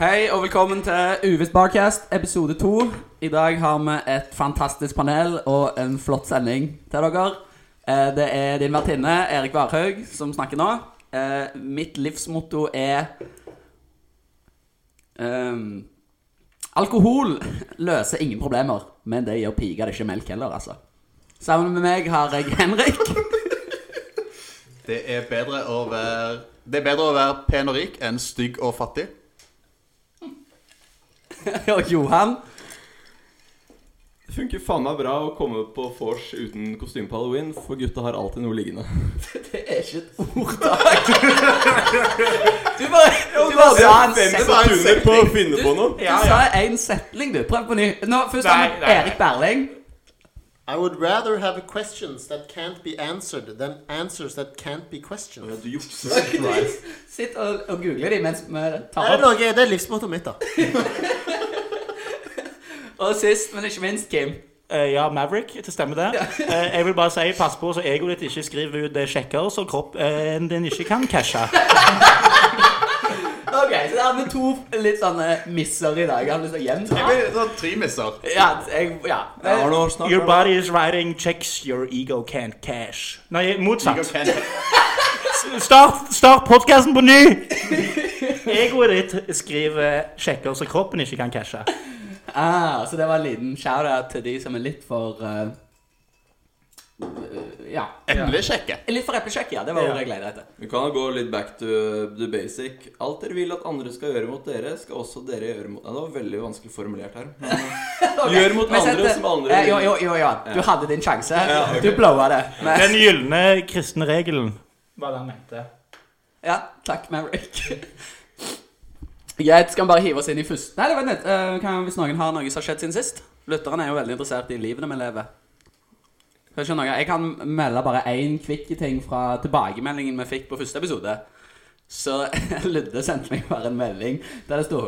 Hei og velkommen til Uvis Barcast, episode to. I dag har vi et fantastisk panel og en flott sending til dere. Eh, Det er din vertinne, Erik Varhaug, som snakker nå. Eh, Mitt livsmotto er ehm, Alkohol løser ingen problemer, men det gir piger det ikke melk heller, altså. Sammen med meg har jeg Henrik. Det er bedre å være Det er bedre å være pen og rik enn stygg og fattig. Og Johan. Det funker faen meg bra å komme på vors uten kostyme på halloween, for gutta har alltid noe liggende. Det er ikke et ordtak. Du bare, du bare sa en Hvem setning. bare en sekunder på å finne på noe? Du Ja, sa en setning, du. Prøv på ny. Nå, først Nei, har vi nei. Erik Berling. I would rather have questions that can't be answered than answers that can't be questioned. Du jukser. Sitt og, og google de mens vi Er det, tar opp. noe, det er livsmottoet mitt, da. Og sist, men ikke minst, Kim. Eh, ja, Maverick. Det stemmer det. Eh, jeg vil bare si, pass på så egoet ditt ikke skriver ut eh, sjekker så kroppen din ikke kan cashe. Ok, Så der har vi to litt sånne misser i dag. Jeg har lyst til å Det gjenta. blir sånn tre misser. Ja, jeg, ja. Jeg har noe snart. Your body is writing checks your ego can't cash. Nei, motsatt. Jeg kan- Start, start podkasten på ny! Egoet ditt skriver sjekker så kroppen ikke kan cashe. Ah, så det var en liten shout-out til de som er litt for eh, eh, Ja. Eplesjekke. Litt for eplesjekk, ja. Det var ordet jeg gleda etter. Vi kan jo gå litt back to the basic. Alt dere vil at andre skal gjøre mot dere, skal også dere gjøre mot ja, Det var veldig vanskelig formulert her. Men Ok, Gjør mot men andre sette- som andre Eh, vil. Jo, jo, jo, ja. Du hadde din sjanse. Du blowa det. Men, Den gylne kristne regelen. Hva den mente. ja, takk, Maverick. Greit, skal vi bare hive oss inn i først Nei, det var nett. eh, kan, hvis noen har noe som har skjedd siden sist Lytterne er jo veldig interessert i livene vi lever. Skal ikke noe? Jeg kan melde bare én kvikk ting fra tilbakemeldingen vi fikk på første episode. Så Ludde sendte meg bare en melding der det sto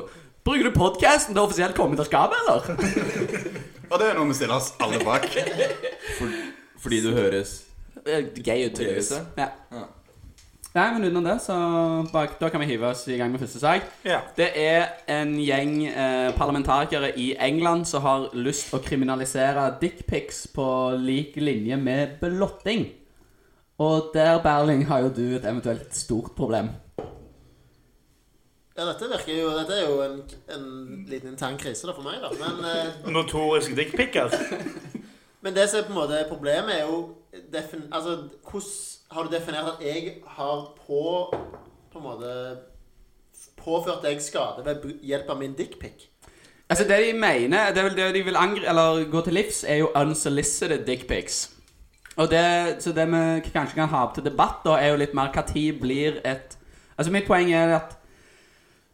'Bruker du podkasten til offisielt komme ut av skapet, eller?' Og det er noe vi stiller oss alle bak. for, fordi du høres Eh, Gøy ut, tydeligvis. Tydeligvis, Ja. ja. Nei, men utenom det, så bak, da kan vi hive oss i gang med første sak. Ja. Det er en gjeng eh, parlamentarikere i England som har lyst å kriminalisere dickpics på lik linje med belotting. Og der, Berling, har jo du et eventuelt stort problem. Ja, dette virker jo Dette er jo en, en liten intern krise da for meg, da. Men, eh, Notorisk dickpicker. men det som er på en måte problemet, er jo defin, Altså, hvordan har du definert at jeg har på På en måte påført deg skade ved bru- hjelp av min dickpic? Altså, det de mener, det, er vel det de vil angre, eller gå til livs, er jo unsolicited dickpics. Og det, så det vi k- kanskje kan ha opp til debatt, da, er jo litt mer hva tid blir et Altså, mitt poeng er at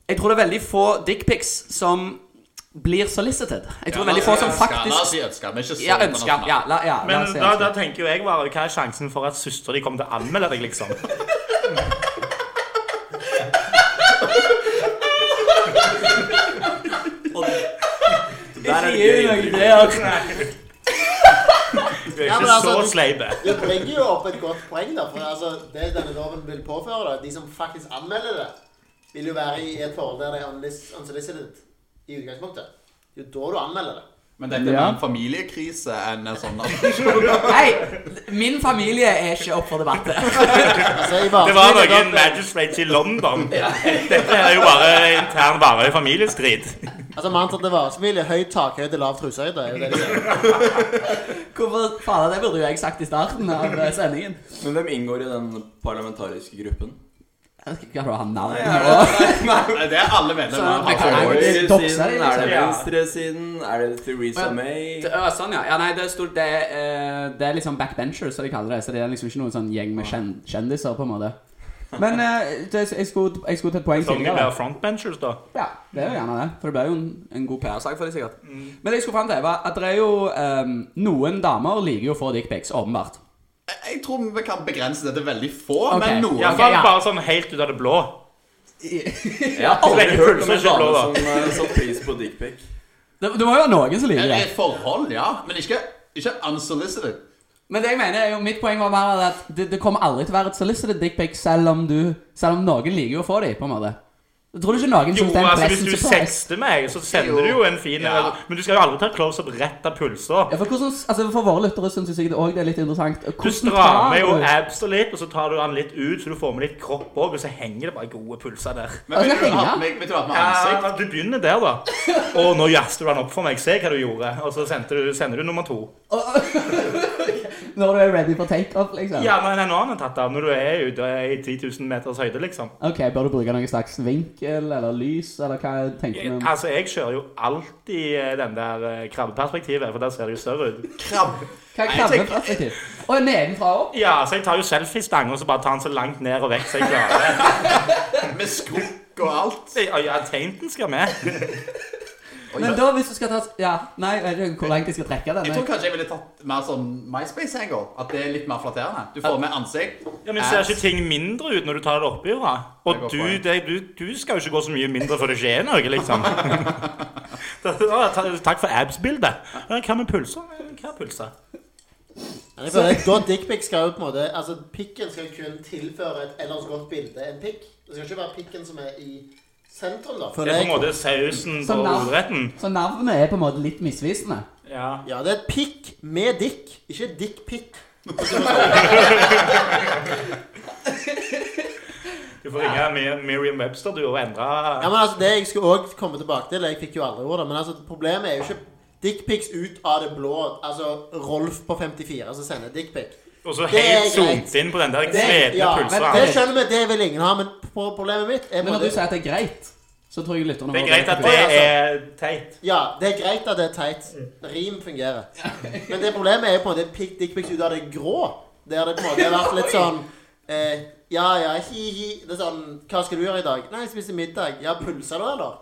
jeg tror det er veldig få dickpics som blir solicited. Jeg tror det er veldig få som La oss sånn faktisk si sånn, ønsker, men ikke så Ja, ønsker. Ja, la, ja, la Men oss si da, da ønsker. tenker jo jeg bare, hva er sjansen for at søster di kommer til å anmelde deg, liksom? Der er Ikke gi det noe gøy. det, altså. Du er Ja, ikke men altså, så du- sleipe. Du bringer jo opp et godt poeng, da. For altså, det denne loven vil påføre, da, de som faktisk anmelder det, vil jo være i et forhold der det er unlis- unsolicited i utgangspunktet. Det er jo da du anmelder det. Men dette er Ja. mer en familiekrise enn en sånn Nei, min familie er ikke opp for debatt. Altså, jeg Det var noen magistrates i London. Dette er jo bare intern varig familiestrid. altså mannen tatt til varesmil i høy takhøyde, lav trusehøyde. er jo det de sier. Hvorfor faen, Det burde jo jeg sagt i starten av eh, sendingen. Men hvem inngår i den parlamentariske gruppen? Jeg skal ikke ha navn. Det er alle medlemmer. Så, har for nei, år. det- doxer Høyresiden? de, Er det liksom? venstresiden? Er det Theresa Ja. May? Det, ja, sånn, ja. ja nei, det, er stort, det, er, eh, det er liksom backbenchers, som de kaller det. Så det er liksom ikke noen sånn gjeng med kjen kjendiser, på en måte. Men eh, det, jeg, skulle, jeg skulle til et poeng Som de tidligere. Sånn blir frontbenchers, da. Ja, det er jo gjerne det. For det ble jo en, en god PR-sak for dem, sikkert. Mm. Men det jeg skulle fram til, var at det er jo ehm, Noen damer liker jo å få dickpics, åpenbart. Jeg tror vi kan begrense det til veldig få, Ok. men noen Ja, Iallfall bare sånn helt ut av det blå. Jeg har aldri Legger hørt om følelser en ikke blå, dame da. som eh, satte pris på dickpic. Det, det må jo være noen som liker Det det. er forhold, ja. Men ikke, ikke unsolicited. Men det jeg mener er jo, mitt poeng var mer at det, det kommer aldri til å være et solicited dickpic, selv om du Selv om noen liker jo å få dem, på en måte. Jeg tror du ikke noen Jo, synes det er en altså Hvis pleasant du surprise? sexter meg, så sender Jo. du jo en fin Ja. Men du skal jo aldri ta close-up rett av pulser. Ja, for, hvordan, altså, for våre lyttere syns jeg sikkert også det er litt interessant. Du Hvordan strammer tar jo du- absa litt, og så tar du den litt ut, så du får med litt kropp òg, og så henger det bare gode pulser der. Men vil Jeg skal du ha henge. med, vil du ha med ansikt? Ja, du begynner der, da. Og nå jazzer du den opp for meg. Se hva du gjorde. Og så sendte du, sender du nummer to. Når du er ready for takeoff, liksom? Ja, men en annen er tatt av når du er ute i 10 000 meters høyde, liksom. Ok, Bør du bruke noen slags vinkel eller lys, eller hva tenker du? om- Altså, jeg kjører jo alltid eh, den der eh, krabbeperspektivet, for der ser det jo større ut. Krabb. Hva er krabbeperspektiv? Å, nedenfra og opp? Ja, så jeg tar jo selfiestang, og så bare tar den så langt ned og vekk så jeg klarer. Med skrukk og alt. Ja, ja, tainten skal med. Oi, Men jeg- da, hvis du skal ta Ja, nei, jeg vet ikke hvor langt jeg skal trekke den. jeg jeg. tror kanskje jeg ville tatt mer sånn MySpace-henger. At det er litt mer flatterende. Du får med ansikt. Ja, men ser ass. ikke ting mindre ut når du tar det oppi, da? Det Og går du, poeng. det, du, du skal jo ikke gå så mye mindre for det skjer noe, liksom. Da- da- ta- Takk for abs-bildet. Ja, Hva med pulser? Hva er pulser? Men jeg føler at Da dickpic skal jo på en måte Altså, pikken skal kun tilføre et ellers godt bilde en pikk. Det skal ikke være pikken som er i sentrum, da. Det Føler er på en jeg. måte sausen på Som navn. hovedretten. Så navnet er på en måte litt misvisende. Ja. Ja, det er pikk med dick, ikke dickpic. Du får ringe Mir- Miriam Webster, du, og endre Ja, men altså, det jeg skulle også komme tilbake til, jeg fikk jo aldri ordet, men altså, problemet er jo ikke dickpics ut av det blå. Altså, Rolf på 54 som sender dickpic. Og så Det er greit. helt zoomt inn på den der Det- svedende Ja, men pulsen. det skjønner vi, det vil ingen ha, men pro- problemet mitt er Men når på du det- sier at det er greit, så tror jeg lytterne Det er får greit at på det Ja, altså. er teit. Ja, det er greit at det er teit. Rim fungerer. Men det problemet er jo på en måte pikk- dickpics ut av det grå. Der det på en måte har vært litt sånn eh, Ja, ja, hi-hi. Det er sånn Hva skal du gjøre i dag? Nei, jeg spiser middag. Ja, pulser du, eller?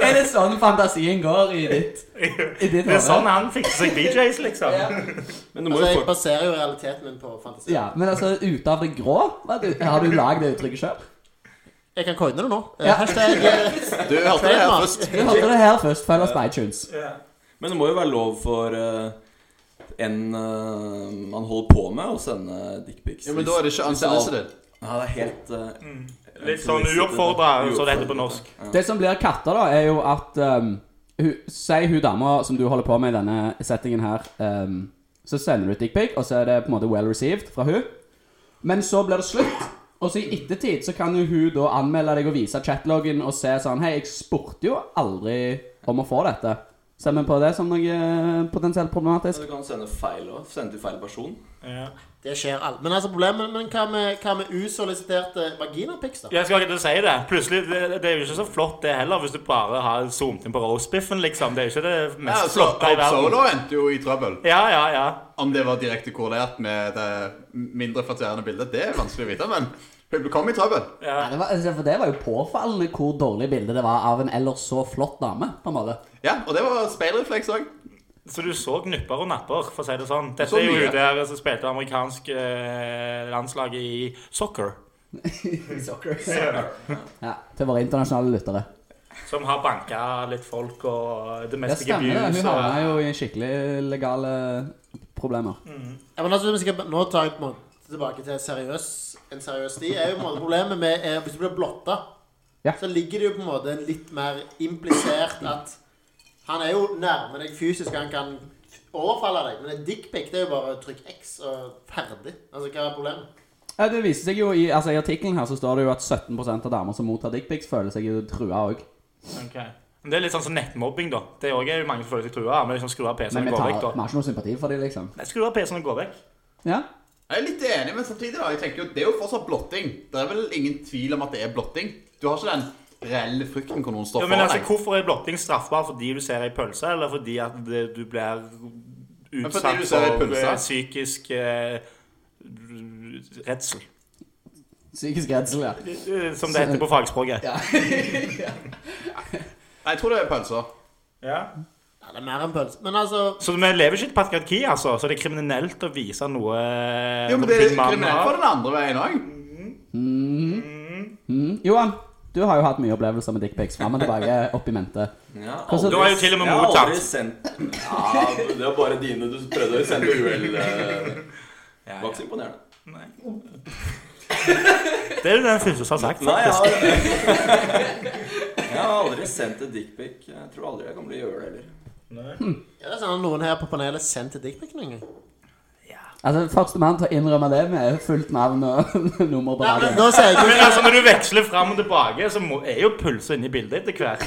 Er det sånn fantasien går i ditt I ditt Det er sånn hode? han fikser seg DJs, liksom. Men det må Altså, jo jeg fort... baserer jo realiteten min på fantasi. Ja, men altså, ute av det grå? Hva, du, har du lagd det uttrykket sjøl? Jeg kan coine det nå. Eh, Ja. Hashtag eh, Du hørte det her først. Du hørte det her først. Følg oss på iTunes. Men det må jo være lov for eh, en eh, man holder på med, å sende dickpics. Ja, men da er det ikke Hvis- hvis alt- unsolicited. Ja, det er helt eh, Litt sånn unsolicited. uoppfordra, som det heter på norsk. Ja. Det som blir katter, da, er jo at um, hu- Si hun dama som du holder på med i denne settingen her, um, så sender du et dickpic, og så er det på en måte well received fra hun Men så blir det slutt. Og så i ettertid så kan jo hun da anmelde deg og vise chatloggen og se sånn Hei, jeg spurte jo aldri om å få dette. Ser vi på det som noe eh, potensielt Så problematisk? Du kan sende feil også, Sende til feil person. Ja. Det skjer alt. Men altså, problemet Men hva med, hva med usollisiterte vaginapics, da? Jeg skal ikke til å si det. Plutselig, det, det er jo ikke så flott det heller, hvis du bare har zoomet inn på roastbiffen, liksom. Det er jo ikke det Ja, mest så flotte i Hope verden. Solo endte jo i trøbbel. Ja, ja, ja. Om det var direkte korrelert med det mindre flatterende bildet, det er vanskelig å vite, men hun kom i trøbbel. Ja. Ja, det var, altså, for det var jo påfallende hvor dårlig bilde det var av en ellers så flott dame. på en måte Ja, og det var speilrefleks òg. Så du så knupper og napper, for å si det sånn. Dette Så er jo mye. hun der som spilte amerikansk eh, landslag i soccer. Ja, Til våre internasjonale lyttere. Som har banka litt folk og det Det meste stemmer det. gebus. Hun og- havna jo i skikkelig legale problemer. Ja, men altså, vi skal, nå tar jeg på en måte tilbake til seriøs, en seriøs sti. er jo på en måte problemet med er, Hvis du blir blotta, Ja. så ligger det jo på en måte litt mer implisert at han er jo nærme deg fysisk, han kan overfalle deg. Men en dickpic det er jo bare trykk X og ferdig. Altså, hva er problemet? Ja, det viser seg jo I altså i artikkelen her så står det jo at 17 av damer som mottar dickpics, føler seg jo trua òg. Ok. Men det er litt sånn som nettmobbing, da. Det er også jo mange som føler seg trua. Men liksom skru av Men PC-en vi, og gå tar, vi vekk, da. har ikke noe sympati for dem, liksom. Nei, Skru av PC-en og gå vekk. Ja. Jeg er litt enig, men samtidig da, jeg tenker jo, det er jo fortsatt blotting. Det er vel ingen tvil om at det er blotting. Du har ikke den reelle frykten hvor noen står Ja, men foran altså, deg. Hvorfor er blotting straffbar? Fordi du ser ei pølse, eller fordi at det, du blir fordi utsatt du ser ei for pølse? eh, psykisk eh, redsel? Psykisk redsel, ja. Eh, Som det heter på fagspråket. Nei, Jeg tror det er pølser. Ja. Ja, det er mer enn pølse. Men altså Så vi lever ikke i et patriarki, altså. Så det er kriminelt å vise noe Jo, men noe det er ting man kriminelt har. for den andre veien òg. Mm. Johan, du har jo hatt mye opplevelser med dickpics fram og tilbake opp i mente. Ja, Hvordan- Du har jo til og med Jeg har mottatt. aldri sendt Ja, det var bare dine du prøvde å sende uhell. eh, Det var ikke så imponerende. Nei. Det er jo den første som har sagt, Nei, jeg faktisk. har, jeg har aldri sendt et dickpic. Jeg tror aldri jeg kommer til å gjøre det heller. Ja, det er sånn at noen her på panelet sendte dickpic noen gang. Altså, Førstemann til å innrømme det med fullt navn og nummer på Nei, radioen. men nå sier jeg Men altså, når du veksler fram og tilbake, så må, er jo pulsen inne i bildet etter hvert.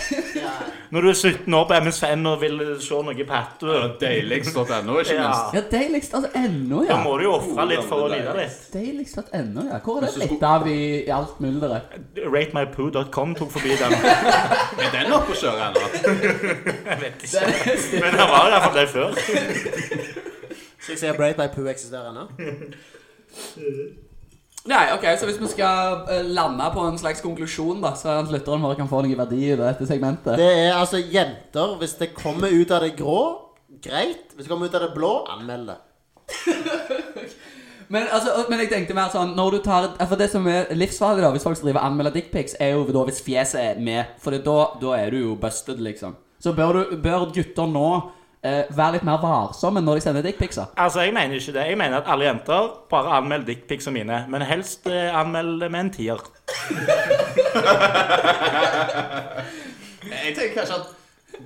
Når du er 17 år på MSN og vil se noe i Pattø, Deiligst.no, ikke ja, minst. Ja, deiligst altså ennå, da ja. må du jo ofre litt for å lide litt. Deiligst.no, ja. Hvor er Hvis du det skulle- blitt av i, i alt mylderet? Ratemypoo.com tok forbi den. Er den oppe å kjøre ennå? Men den var iallfall der før. Skal jeg si at Braid by Poo eksisterer ennå? Nei, ok, så hvis vi skal eh, lande på en slags konklusjon, da, så er at lytteren vår kan få noe verdi i dette segmentet. Det er altså jenter Hvis det kommer ut av det grå, greit. Hvis det kommer ut av det blå, anmeld det. Men, altså, men jeg tenkte mer sånn Når du tar For det som er livsfarlig, da, hvis folk skal drive og anmelde dickpics, er jo da hvis fjeset er med. For da, da er du jo busted, liksom. Så bør, du, bør gutter nå eh, være litt mer varsomme når de sender dickpicser. Altså, jeg mener ikke det. Jeg mener at alle jenter bare anmeld dickpics som mine. Men helst eh, anmeld det med en tier. Jeg tenker kanskje at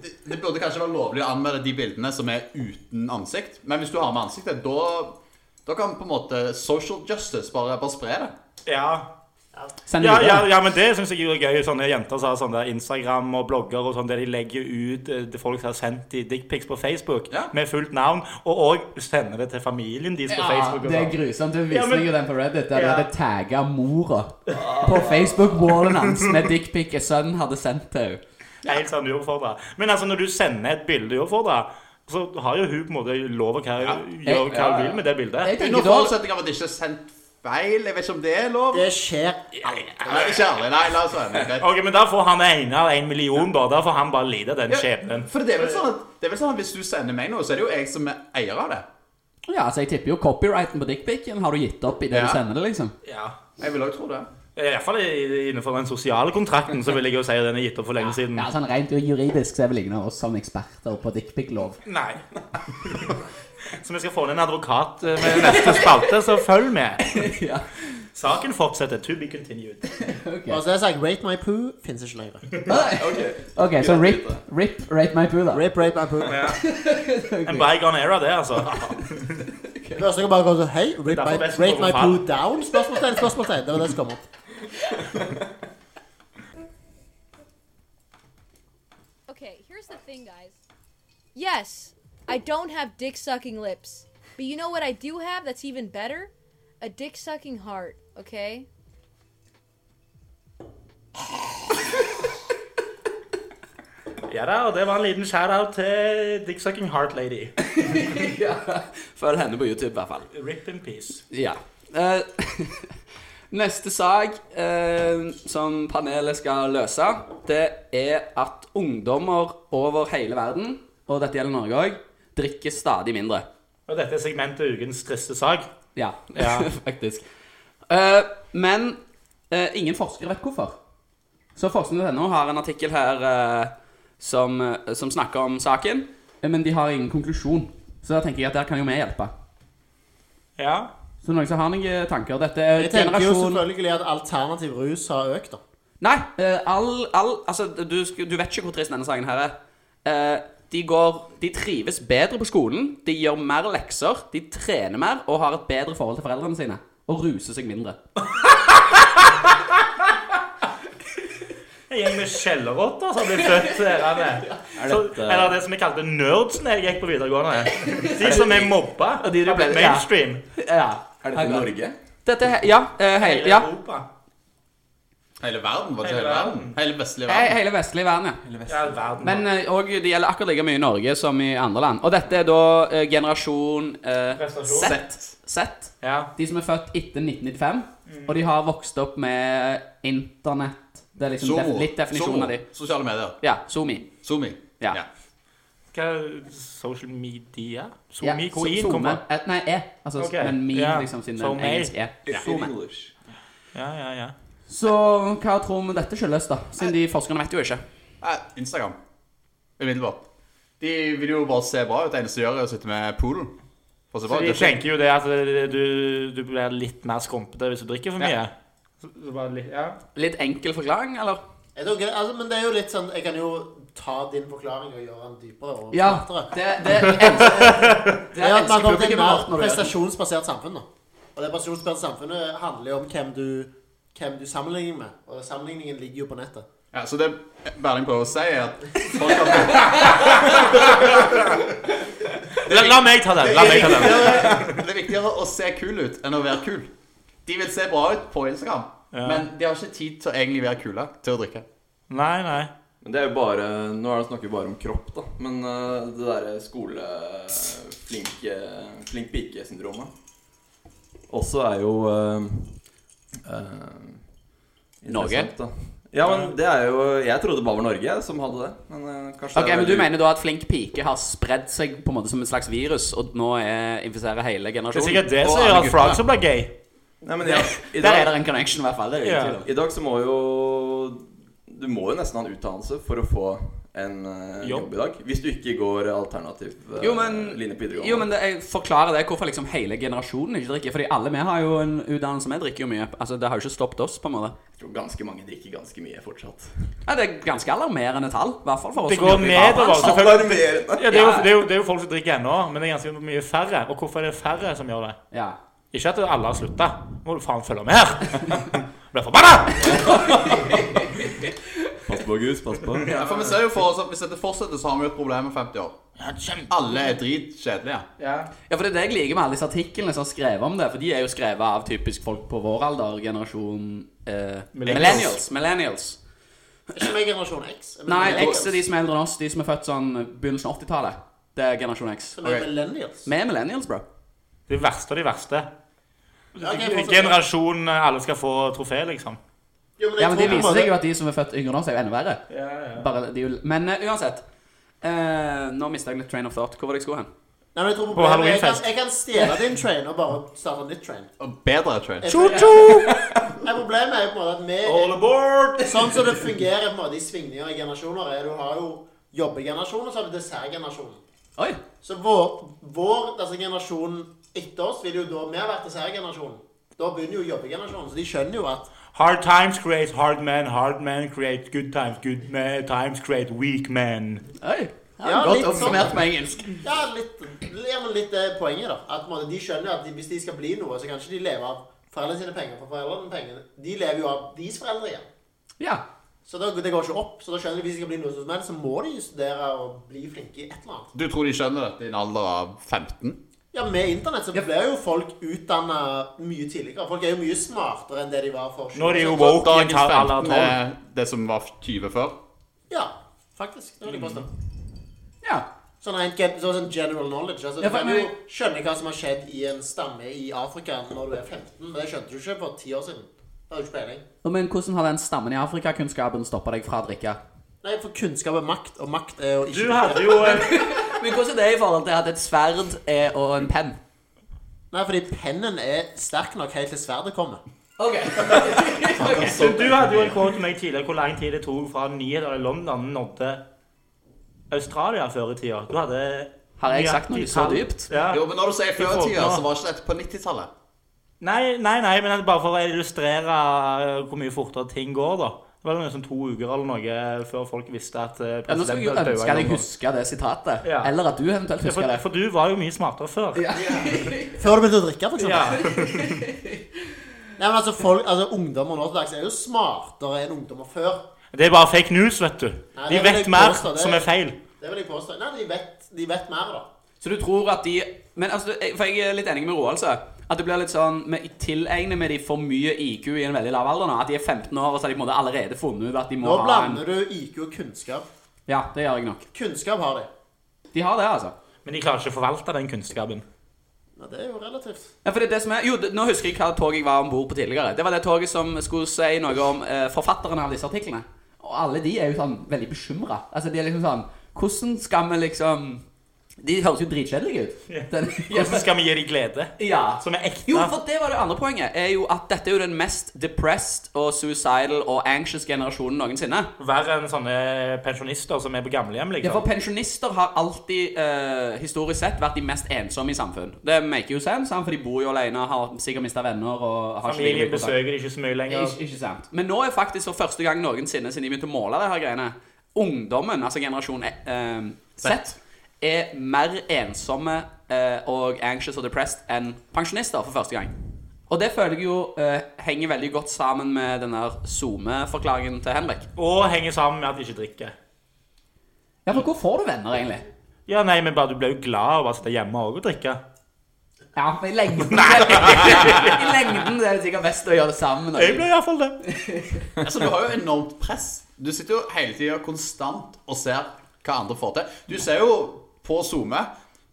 det, det burde kanskje være lovlig å anmelde de bildene som er uten ansikt. Men hvis du har med ansiktet, da, da kan på en måte social justice bare, bare spre det. Ja. Send Ja, det ja, videre. ja, men det syns jeg jo er gøy. Sånne jenter som har sånne der Instagram og blogger og sånn, der de legger ut eh, det folk har sendt i dickpics på Facebook Ja. med fullt navn, og òg sender det til familien deres på Facebook. Og det er sånn. grusomt. Du viste Ja, men- meg jo den på Reddit, der Ja. du hadde tagga mora på Facebook-wallen hans med dickpic sønnen hadde sendt til henne. Det er Helt sånn uoppfordra. Men altså, når du sender et bilde uoppfordra, så har jo hun på en måte lov å hva- gjøre hva hun vil med det bildet. Jeg tenker Under da forutsetning av at det ikke er sendt feil. Jeg vet ikke om det er lov. Det skjer aldri. Nei, ikke ærlig. Nei, la oss være med. greit. Ok, Men da får han ene av en million, da. Da får han bare lide den Ja, skjebnen. For det er, vel sånn at, det er vel sånn at hvis du sender meg noe, så er det jo jeg som er eier av det. Ja, altså, jeg tipper jo copyrighten på dickpicen har du gitt opp i det Ja. du sender det, liksom. Ja. Jeg vil også tro det. Iallfall innenfor den sosiale kontrakten så vil jeg jo si at den er gitt opp for lenge siden. Ja, sånn Rent juridisk så er vi lignende oss som eksperter på dickpic-lov. Nei. Så vi skal få inn en advokat eh, med neste spalte, så følg med. ja. Saken fortsetter. To be continued. ok. Og så har Altså, jeg sagt Rate my poo fins ikke lenger. ok, så rip, rip Rate My Poo, da. Rape, rape my poo. En bygone era, det, altså. Først kan jeg bare gå sånn Hei, rape my, Derfor best å rate my gå på poo down? Spørsmålstegn, spørsmålstegn. Det var det som kom opp. Okay, here's the thing, guys. Yes, I don't have dick sucking lips. But you know what I do have that's even better? A dick sucking heart, okay? Ja da, og det var en liten shout-out til Dicksucking Heart Lady. Følg henne på YouTube, i hvert fall. Rip in peace. Ja. Eh, neste sak eh, som panelet skal løse, det er at ungdommer over hele verden, og dette gjelder Norge òg, drikker stadig mindre. Og dette er segmentet ukens triste sak. Ja, Ja. faktisk. Eh, men eh, ingen forskere vet hvorfor. Så forskning.no har en artikkel her eh, som, eh, som snakker om saken, eh, men de har ingen konklusjon. Så da tenker jeg at der kan jo vi hjelpe. Ja. Så noen som har noen tanker? Dette er Jeg tenker jo generasjon selvfølgelig at alternativ rus har økt, da. Nei, eh, all, all Altså, du, sku- du vet ikke hvor trist denne sangen her er. Eh, de går De trives bedre på skolen, de gjør mer lekser, de trener mer og har et bedre forhold til foreldrene sine. Og ruser seg mindre. En gjeng med skjellerotter som ble født eh, herrene. dette- Eller det som jeg kalte nerds når jeg gikk på videregående. De som er mobba. Og de ble mainstream. Ja. Er dette Norge? Dette er he- Ja. eh, hei, ja. Europa. Hele verden, var det Hele hele, hele verden. verden? Hele vestlige He- verden. Hele vestlige verden, ja. Ja, verden. Men eh, og det gjelder akkurat like mye i Norge som i andre land. Og dette er da eh, generasjon eh, Prestasjon. Z. Z. Ja. De som er født etter 1995, Mm. og de har vokst opp med internett. Det er liksom def Zomo. litt definisjonen Zomo. av de. Sosiale medier. Ja, Zoomi. Zoomi. Ja. Hva Social media? Ja, Somi? so- Hvor i Zoome. kommer Eh, Nei, E. Altså, Ok, Men min, ja. liksom, siden Zoome. den engelske E. In Zoome. English. Ja, ja, ja. Så hva tror vi dette skyldes, da? Siden de forskerne vet jo ikke. Eh, Instagram. Umiddelbart. De vil jo bare se bra ut. Det eneste de gjør, er å sitte med poolen. For å se bra Så ut. de Det er fint. eh, tenker jo det at du, du blir litt mer skrumpete hvis du drikker for mye. Ja. Så, så bare litt, ja. Litt enkel forklaring, eller? Jeg tror ikke det, altså, men det er jo litt sånn Jeg kan jo ta din forklaring og gjøre den dypere. og Ja. smartere. Det, det, det, elsker- Det er at man kommer til et publikum mer vårt når du gjør det. prestasjonsbasert samfunn. nå. Og det prestasjonsbaserte samfunnet handler jo om hvem du, hvem du sammenligner med. Og sammenligningen ligger jo på nettet. Ja, så det Berling prøver å si, er at folk har, La, la meg ta den. La meg ta den. det er viktigere å se kul ut enn å være kul. De vil se bra ut på Instagram, Ja. men de har ikke tid til å egentlig være kule til å drikke. Nei, nei. Men det er jo bare Nå er det snakker vi bare om kropp, da. Men eh, det derre skoleflink flink pike-syndromet også er jo eh, eh, Norge? interessant, Da. Ja, men det er jo Jeg trodde det bare var Norge som hadde det. Men eh, kanskje Ok, det er men Du veldig- mener da at flink pike har spredd seg på en måte som et slags virus, og nå er, infiserer hele Det er generasjonen? sikkert det Og som alle gjør at guttene. Frogster blir gay. Nei, men ja, i, Der er dag, det en connection, i hvert fall. Det er det Ja. ingen tvil om. I dag så må jo Du må jo nesten ha en utdannelse for å få en eh, Jobb. jobb i dag. Hvis du ikke går alternativ eh, Jo, men- linje på videregående. Jo, men det, jeg forklarer det hvorfor liksom hele generasjonen ikke drikker. Fordi alle vi har jo en utdannelse, vi drikker jo mye. Altså, Det har jo ikke stoppet oss, på en måte. Jeg tror ganske mange drikker ganske mye fortsatt. Ja, Det er ganske alarmerende tall, i hvert fall for oss. Det som går jobber i barbransjen. nedover, selvfølgelig. Alarmerende. Ja, det, er jo, Ja. det, er jo, det er jo folk som drikker ennå, men det er ganske mye færre. Og hvorfor er det færre som gjør det? Ja. Ikke at alle har slutta. Må du faen følge med her! Blir forbanna! Pass på, Gus. Pass på. Ja, for vi ser jo for oss at Hvis dette fortsetter, så har vi jo et problem om 50 år. Alle er dritkjedelige. Ja. ja, for det er det jeg liker med alle disse artiklene som har skrevet om det. For de er jo skrevet av typisk folk på vår alder, generasjon eh, Millennials. millennials. millennials. Ikke meg generasjon X. Jeg mener Nei, millennials, X er de som er eldre enn oss. De som er født sånn begynnelsen av 80-tallet. Det er generasjon X. Som er Ok. millennials. Vi er millennials, bro. De verste av de verste. Ja, ok, fortsatt. Generasjonen alle skal få trofé, liksom. Jo, men jeg Ja, men Det tror på en viser måte- seg jo at de som er født yngre enn oss, er jo enda verre. Ja, Bare de, men eh, uansett. Eh, nå mista jeg litt train of thought. Hvor var det jeg skulle hen? Nei, men jeg tror På problemet er jeg kan, Halloweenfest. jeg kan stjele din train og bare starte en nytt train. Og bedre, tror jeg. Nei, Problemet er jo på en måte at vi All aboard! Sånn som det fungerer på en måte i svingninger i generasjoner, er du har jo jobbegenerasjonen, og så har du dessertgenerasjonen. Oi! Så vår, vår altså generasjonen etter oss vil jo da Vi har vært dessertgenerasjonen. Da begynner jo jobbegenerasjonen, så de skjønner jo at Hard times create hard men, hard men create good times, good men, times create weak men. Oi. Ja, Godt litt oppsummert sånn. på engelsk. Ja, litt, ja, men litt det er poenget, da. At på en måte, de skjønner at de, hvis de skal bli noe, så kan ikke de leve av foreldrene sine penger. For foreldrene sine penger, De lever jo av deres foreldre igjen. Ja. Så da, det går ikke opp. Så da skjønner de at hvis de skal bli noe som helst, så må de jo studere og bli flinke i et eller annet. Du tror de skjønner dette i en alder av 15? Ja, med internett så blir jo folk utdanna mye tidligere. Folk er jo mye smartere enn det de var for Nå er de jo år siden. woke i en Dagens tall alder av 15 tolv. er det som var 20 før. Ja, faktisk. Det vil jeg påstå. ja. Sånn rent gen- sånn sånn general knowledge. Altså, Ja, du for- kan jo skjønne hva som har skjedd i en stamme i Afrika når du er 15, men det skjønte du ikke for ti år siden. Det har du ikke peiling. Nå, Men hvordan har den stammen i Afrikakunnskapen stoppa deg fra å drikke? Nei, for kunnskap er makt, og makt er å Du ikke hadde jo eh, en Men hvordan er det i forhold til at et sverd er, og en penn? Nei, fordi pennen er sterk nok helt til sverdet kommer. Ok. Du, du hadde jo en quote med meg tidligere hvor lang tid det tok fra nyheter i London nådde Australia før i tida. Du hadde Har jeg sagt noe så 90-tall. dypt? Ja. Jo, men når du sier før i tida, så var ikke dette på 90-tallet. Nei, nei, nei, men det er bare for å illustrere eh, hvor mye fortere ting går, da. Det var liksom to uker eller noe eh, før folk visste at eh, Ja, nå skal jeg jo presidenten døde i ønske jeg London. husker det sitatet. Ja. Eller at du eventuelt Ja, husker for, det. for du var jo mye smartere før. Før du begynte å drikke, for eksempel. Ja. Nei, men altså, folk, altså Ungdommer nå til dags er jo smartere enn ungdommer før. Det er bare fake news, vet du. Nei, det De vil vet jeg mer påstå, det- som er feil. Det vil jeg påstå. Nei, de vet, de vet mer, da. Så du tror at de Men altså, jeg- for jeg er litt enig med Roald, så. At det blir litt sånn Vi tilegner med de for mye IQ i en veldig lav alder nå. At de er 15 år, og så har de på en måte allerede funnet ut at de må Nå ha en blander du IQ og kunnskap. Ja, det gjør jeg nok. Kunnskap har de. De har det, altså. Men de klarer ikke å forvalte den kunnskapen. Ja, det er jo relativt. Ja, for det er det som er, jo, det- Nå husker jeg hva tog jeg var om bord på tidligere. Det var det toget som skulle si noe om eh, forfatterne av disse artiklene. Og alle de er jo sånn veldig bekymra. Altså, de er liksom sånn Hvordan skal vi liksom De høres jo dritkjedelige ut. Den, Hvordan skal vi gi dem glede? ja. Som er ekte? Jo, for det var det andre poenget. Er jo at Dette er jo den mest depressed og suicidal og anxious generasjonen noensinne. Verre enn sånne pensjonister som er på gamlehjem, Ja, for liksom. Pensjonister har alltid eh, historisk sett vært de mest ensomme i samfunn. Det make you sense, sant? for de bor jo alene, har sikkert mista venner og sånn. har ikke like Familien mye kontakt. besøker de ikke så mye lenger. Ikke, ikke sant. Men nå er faktisk for første gang noensinne siden de begynte å måle det her greiene, ungdommen, altså generasjon eh, Z, er mer ensomme eh, og anxious og depressed enn pensjonister for første gang. Og det føler jeg jo eh, henger veldig godt sammen med den der SoMe-forklaringen til Henrik. Og henger sammen med at de ikke drikker. Ja, for hvor får du venner, egentlig? Ja, nei, men bare du blir jo glad av å bare sitte hjemme og drikke. Ja, men i lengden I lengden er det sikkert best å gjøre det sammen. Jeg blir iallfall det. Altså, du har jo enormt press. Du sitter jo hele tida konstant og ser hva andre får til. Du ser jo på SoMe,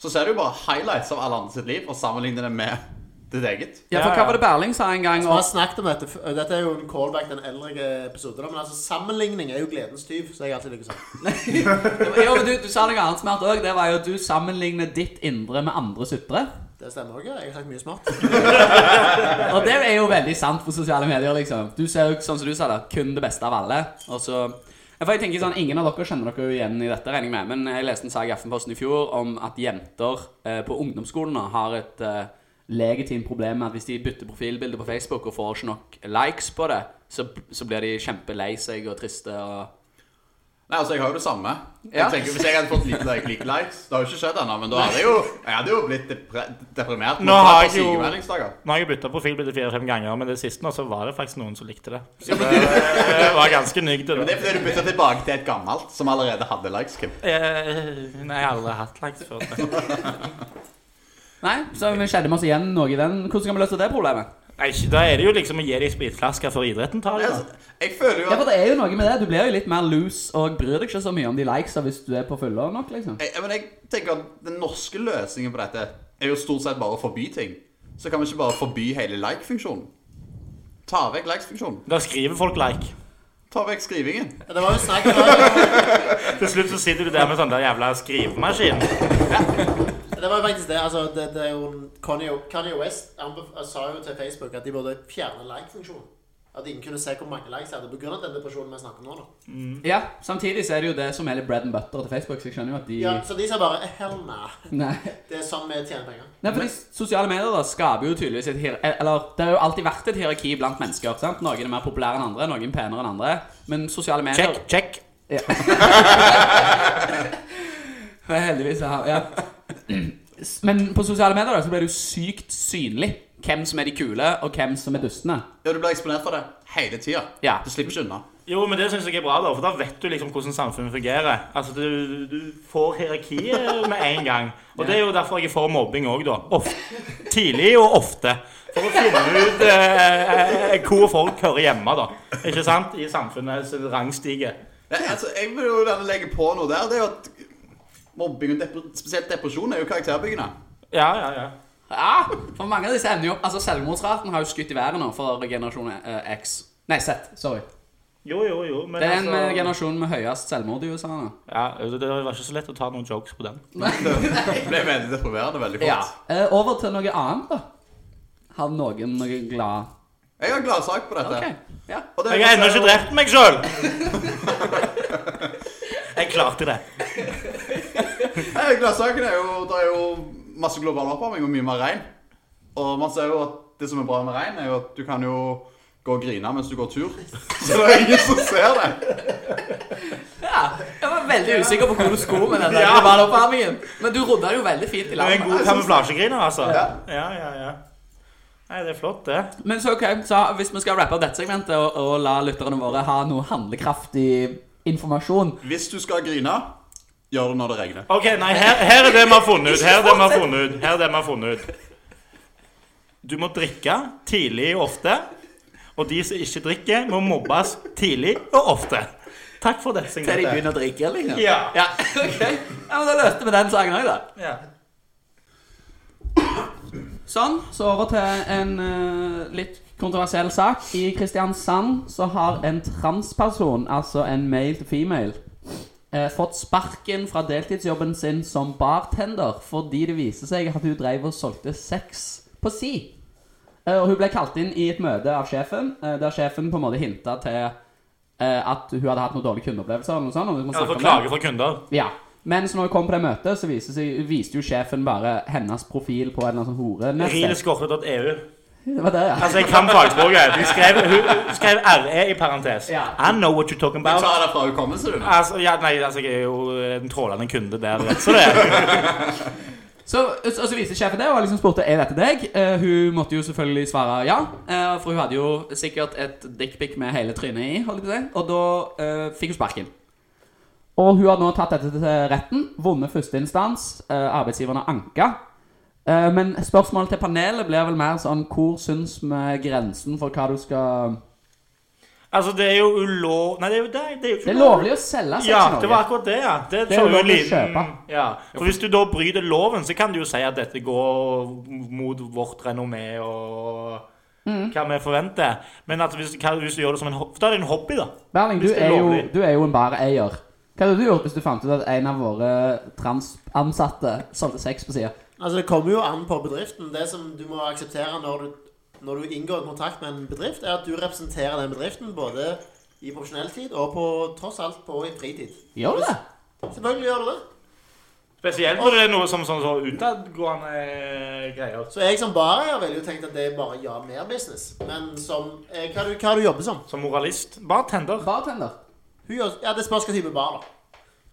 så ser du jo bare highlights av alle andre sitt liv og sammenligner det med ditt eget. Ja, for hva var det Berling sa en gang? Vi har Og, snakket om dette f- Dette er jo en callback til en eldre episode, da, men altså sammenligning er jo gledens tyv. Så jeg alltid liker sånn. jo, men du, du sa noe annet smart òg. Det var jo at du sammenligner ditt indre med andres ytre. Det stemmer òg, ja. Jeg har sagt mye smart. Og det er jo veldig sant på sosiale medier, liksom. Du ser jo, sånn som du sa det, kun det beste av alle. Og så... Ja, For jeg tenker sånn, Ingen av dere kjenner dere jo igjen i dette, regner jeg med. Men jeg leste en sak i Aftenposten i fjor om at jenter eh, på ungdomsskolene har et eh, legitimt problem med at hvis de bytter profilbilde på Facebook og får ikke nok likes på det, så, så blir de kjempelei seg og triste og Nei, altså, jeg har jo det samme. Jeg Ja. tenker, Hvis jeg hadde fått lite like, like likes Det har jo ikke skjedd ennå, men da hadde jeg jo, jeg hadde jo blitt depre deprimert. Nå har jeg jo jo- Nå har jeg bytta profilbilde fire-fem ganger, men det siste nå så var det faktisk noen som likte det. Så det eh, var ganske nygde. Men det er fordi du bytter tilbake til et gammelt som allerede hadde likes. Kim. Eh, Nei, jeg har aldri hatt likes før. Nei, så vi kjenner oss igjen noe i den. Hvordan skal vi løse det problemet? Nei, ikke- da er det jo liksom å gi dem spritflasker før idretten tar dem. da. Altså, jeg føler jo Ja, at for det er jo noe med det. Du blir jo litt mer loose og bryr deg ikke så mye om de likesa hvis du er på fulle nok, liksom. jeg, men jeg tenker at Den norske løsningen på dette er jo stort sett bare å forby ting. Så kan vi ikke bare forby hele like-funksjonen. Ta vekk likes-funksjonen. Da skriver folk like. Ta vekk skrivingen. Ja, Det var jo snakk det Til slutt så sitter du der med sånn der jævla skrivemaskin. var jo faktisk det. altså det, det er jo Kanye, Kanye West anbef- sa jo til Facebook at de burde fjerne like-funksjonen. At ingen kunne se hvor mange likes de hadde pga. den depresjonen vi snakker om nå. da Ja, samtidig så er det jo det som er litt bread and butter til Facebook, så jeg skjønner jo at de Ja, Så de sa bare Hell nei. Nei. Det er sånn vi tjener penger. Nei, for de sosiale medier da skaper jo tydeligvis et hier... eh, Eller, det har jo alltid vært et hierarki blant mennesker, sant? Noen er mer populære enn andre, noen penere enn andre, men sosiale medier... Check, check. Men heldigvis, ja. ja. Men på sosiale medier da, så blir det jo sykt synlig hvem som er de kule, og hvem som er dustene. Ja, Du blir eksponert for det hele tida. Ja. Du slipper ikke unna. Jo, men det syns jeg er bra, da, for da vet du liksom hvordan samfunnet fungerer. Altså, Du, du får hierarkiet med en gang. Og det er jo derfor jeg er for mobbing òg, da. Of tidlig og ofte. For å finne ut eh, eh, hvor folk hører hjemme, da. Ikke sant? I samfunnets rangstige. Ja, altså, jeg vil jo gjerne legge på noe der. Det er jo at mobbing og depre spesielt depresjon er jo karakterbyggende. Ja, ja, ja. Ja, for mange av disse ender jo opp Altså, selvmordsraten har jo skutt i været nå for generasjon eh, X. Nei, Z. Sorry. Jo, jo, jo. Men Det er den eh, med altså, generasjonen med høyest selvmord i USA nå. ja, det det var ikke så lett å ta noen jokes på den. Jeg ble veldig deprimerende veldig fort. Ja. Eh, over til noe annet, da. Har noen noe glad Jeg har gladsak på dette. Ok, ja. Og det er Jeg har jo- ennå ikke drept meg sjøl! Jeg klarte det. Nei, Gladsaken er jo Det er jo masse global oppvarming og mye mer regn. Og man ser jo at det som er bra med regn, er jo at du kan jo gå og grine mens du går tur. Så det er ingen som ser det. ja. Jeg var veldig usikker på hvor du skulle med den der globaloppvarmingen. Men du rodda det jo veldig fint i Du er en land. god kamuflasjegriner, altså. Ja. ja, ja, ja. Nei, det er flott, det. Men så ok, så hvis vi skal rappe opp dette segmentet og, og la lytterne våre ha noe handlekraftig informasjon Hvis du skal grine, gjør det når det regner. OK, nei, her, her er det vi har funnet ut. Her er det vi har funnet ut. Her er det vi har funnet ut. Du må drikke tidlig og ofte. Og de som ikke drikker, må mobbes tidlig og ofte. Takk for det. til de Signe. begynner å drikke, liksom? Ja. Ja, ok. Ja, men da løste vi den saken òg, da. ja. Sånn, så over til en eh, litt kontroversiell sak. I Kristiansand så har en transperson, altså en male til female, eh, fått sparken fra deltidsjobben sin som bartender fordi det viser seg at hun drev og solgte sex på si. Eh, og hun ble kalt inn i et møte av sjefen, eh, der sjefen på en måte hinta til eh, at hun hadde hatt noen dårlige kundeopplevelser. eller noe sånt, og vi må Ja, snakke for om det. klage fra kunder. Ja. Men så når vi kom på det møtet, så viste, seg, viste jo sjefen bare hennes profil på en eller annen sånn horenettsted. Rilskorfe.eu. Det var det, ja. E Altså, jeg kan fagspråket. Hun skrev, hun skrev RE i parentes. Ja. I know what you're talking Jeg about. tar det fra hukommelsen din. Altså, ja, nei, altså, jeg er jo en trålende kunde der, vet så det. er. Så, så, så viste sjefen det, og liksom spurte er dette deg. Eh, hun måtte jo selvfølgelig svare ja, eh, for hun hadde jo sikkert et dickpic med hele trynet i. Holdt jeg på å si. Og da eh, fikk hun sparken. Og hun har nå tatt dette til retten, vunnet førsteinstans. Eh, arbeidsgiveren har anka. Eh, men spørsmålet til panelet blir vel mer sånn hvor syns vi grensen for hva du skal Altså, det er jo ulov... Nei, det er jo det. Det er, jo ikke Det er ulov. lovlig å selge sex Ja, i Norge. det var akkurat det, ja. Det, Det er kjører jo ulovlig å liten- kjøpe. Ja, for hvis du da bryter loven, så kan du jo si at dette går mot vårt renommé og Mm. hva vi forventer. Men at hvis, hva, hvis du gjør det som en hobby, da er det en hobby, da. Berling, du Hvis det er, er jo, lovlig. du er jo en bareier. Hva hadde du gjort hvis du fant ut at en av våre transansatte solgte sex på sida? Altså, det kommer jo an på bedriften. Det som du må akseptere når du, når du inngår kontrakt med en bedrift, er at du representerer den bedriften både i profesjonell tid og på, tross alt på i fritid. Gjør du det? Selvfølgelig gjør du det. Spesielt når det er noe som sånn så utadgående greier. Så jeg som bareier ville jo tenkt at det er bare ja, mer business. Men som eh, Hva, du, hva du jobber som? Som moralist. Bartender. Bartender. Hun gjør, ja, Det spørs hva type bar, da.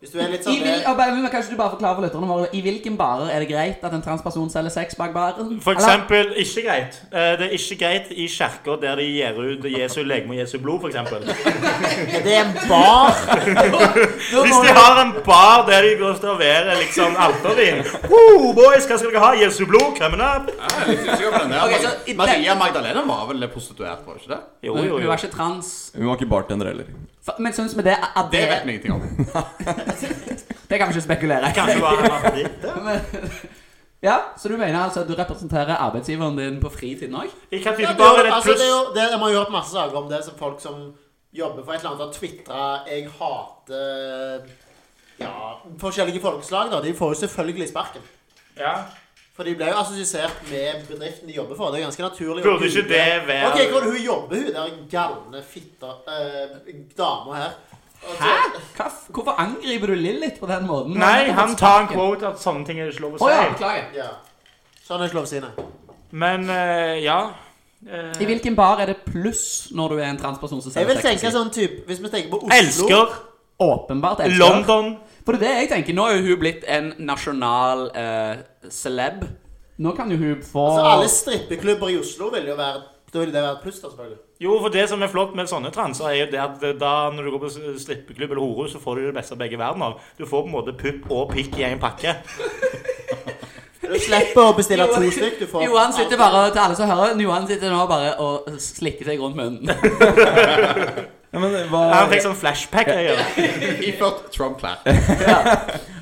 Hvis du er litt I sånn vil, eh, og Berling, kanskje du bare forklarer for lytterne våre I hvilken barer er det greit at en transperson selger sex bak baren? For Eller- eksempel, ikke greit. Eh, Det er ikke greit i kirker der de gir ut Jesu legeme og Jesu blod, for eksempel. eh, Er det en bar? Da Hvis må de du- har en bar der de går og serverer liksom altervin Woo, boys, hva skal dere ha? Jesu blod? Coming up? Jeg er litt usikker på den der. Ok, så i den- Maria Magdalena var vel prostituert, var hun ikke det? Jo, Hun jo, hun jo. var ikke trans. Hun var ikke bartender heller. F- Men syns vi det at Det vet det, vi ingenting om. det kan vi ikke spekulere i. Kanskje var han artig. Men- Ja, Så du mener altså at du representerer arbeidsgiveren din på fritiden òg? I hva Ja, type det, bar er det et altså, det, er jo, pluss? det, man har jo hørt masse saker om det som folk som jobber for et eller annet, har twitra 'jeg hater ja, forskjellige folkeslag. da, De får jo selvfølgelig sparken. Ja. For de ble jo assosiert med bedriften de jobber for. Det er ganske naturlig. å Burde ikke google- det være Ok, hvor hun jobber, hun der galne fitta eh, dama her. Og så- Hva, f- hvorfor angriper du Lillit på den måten? Nei, han tar en quote at sånne ting er det ikke lov Å å ja, si. beklager. Ja. Sånn er ikke lov å si, nei. Men eh, ja. Eh, I hvilken bar er det pluss når du er en transperson som Jeg selger vil sex? tenke sånn type Hvis vi tenker på Oslo Elsker Åpenbart elsker. London. For det er det jeg tenker. Nå er jo hun blitt en nasjonal eh, celeb. Nå kan jo hun få Altså, alle strippeklubber i Oslo vil jo være Da vil det være et pluss, da, selvfølgelig. Jo, for det som er flott med sånne transer, er jo det at eh, da når du går på strippeklubb eller horehus, så får du det beste av begge verdener. Du får på en måte pupp og pikk i en pakke. Du slipper å bestille to stykk. Du får Johan sitter bare til alle som hører Johan sitter nå bare og slikker seg rundt munnen. Ja, men Han hva fikk sånn flashpack. Jeg, gjør. Iført Trump-klær.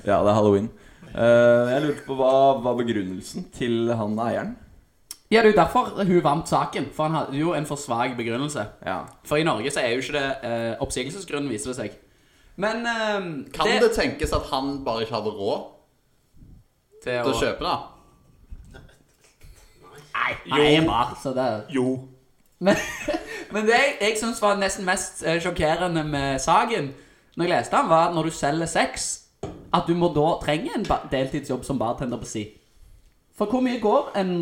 Ja, det er halloween. Eh, jeg lurte på hva var begrunnelsen til han eieren? Ja, Det er jo derfor hun vant saken. For han hadde jo en for svak begrunnelse. Ja. For i Norge så er jo ikke det eh, oppsigelsesgrunn, viser det seg. Men eh, Kan det... tenkes at han bare ikke hadde råd til til å å kjøpe det? Nei, han er bar, så det er jo. Men, men det jeg, jeg syns var nesten mest eh, sjokkerende med saken, når jeg leste den, var at når du selger sex, at du må da trenge en ba- deltidsjobb som bartender på si. For hvor mye går en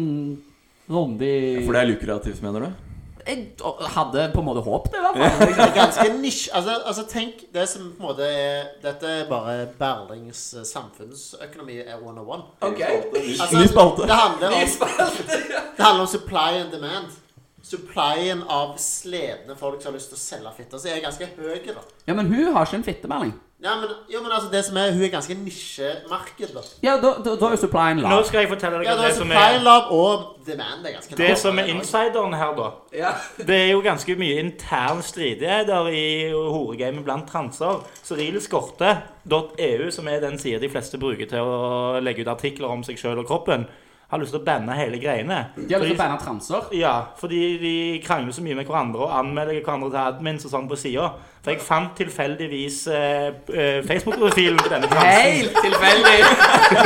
runde i For det er lukrativt, mener du? Jeg å, hadde på en måte håpet det, i hvert fall. Det er ganske nisje. Altså, altså, tenk det som på en måte er Dette er bare Berlings eh, samfunnsøkonomi er 101. Ok. Altså, Ny spalte. Det handler, om, det handler om supply and demand. Supplyen av sledne folk som har lyst til å selge fitte. Så er ganske høy, da. Ja, men hun har ikke en fittemelding. Ja, men, jo, men altså, det som er, hun er ganske nisjemarked, da. Ja, da, da, da er jo supplyen Nå lav. skal jeg fortelle dere Ja, det det er som supply er lav og demand er ganske det lav. som er insideren her, da. Ja. Det er jo ganske mye intern stridigheter i horegamet blant transer. Cyrileskorte.eu, som er den sida de fleste bruker til å legge ut artikler om seg sjøl og kroppen, har lyst til å banne hele greiene. De har lyst til å Fordi- banne transer. Ja, fordi de krangler så mye med hverandre og anmelder hverandre til admins og sånn på sida. For jeg fant tilfeldigvis eh, eh, Facebook-profilen til denne transen Helt tilfeldig.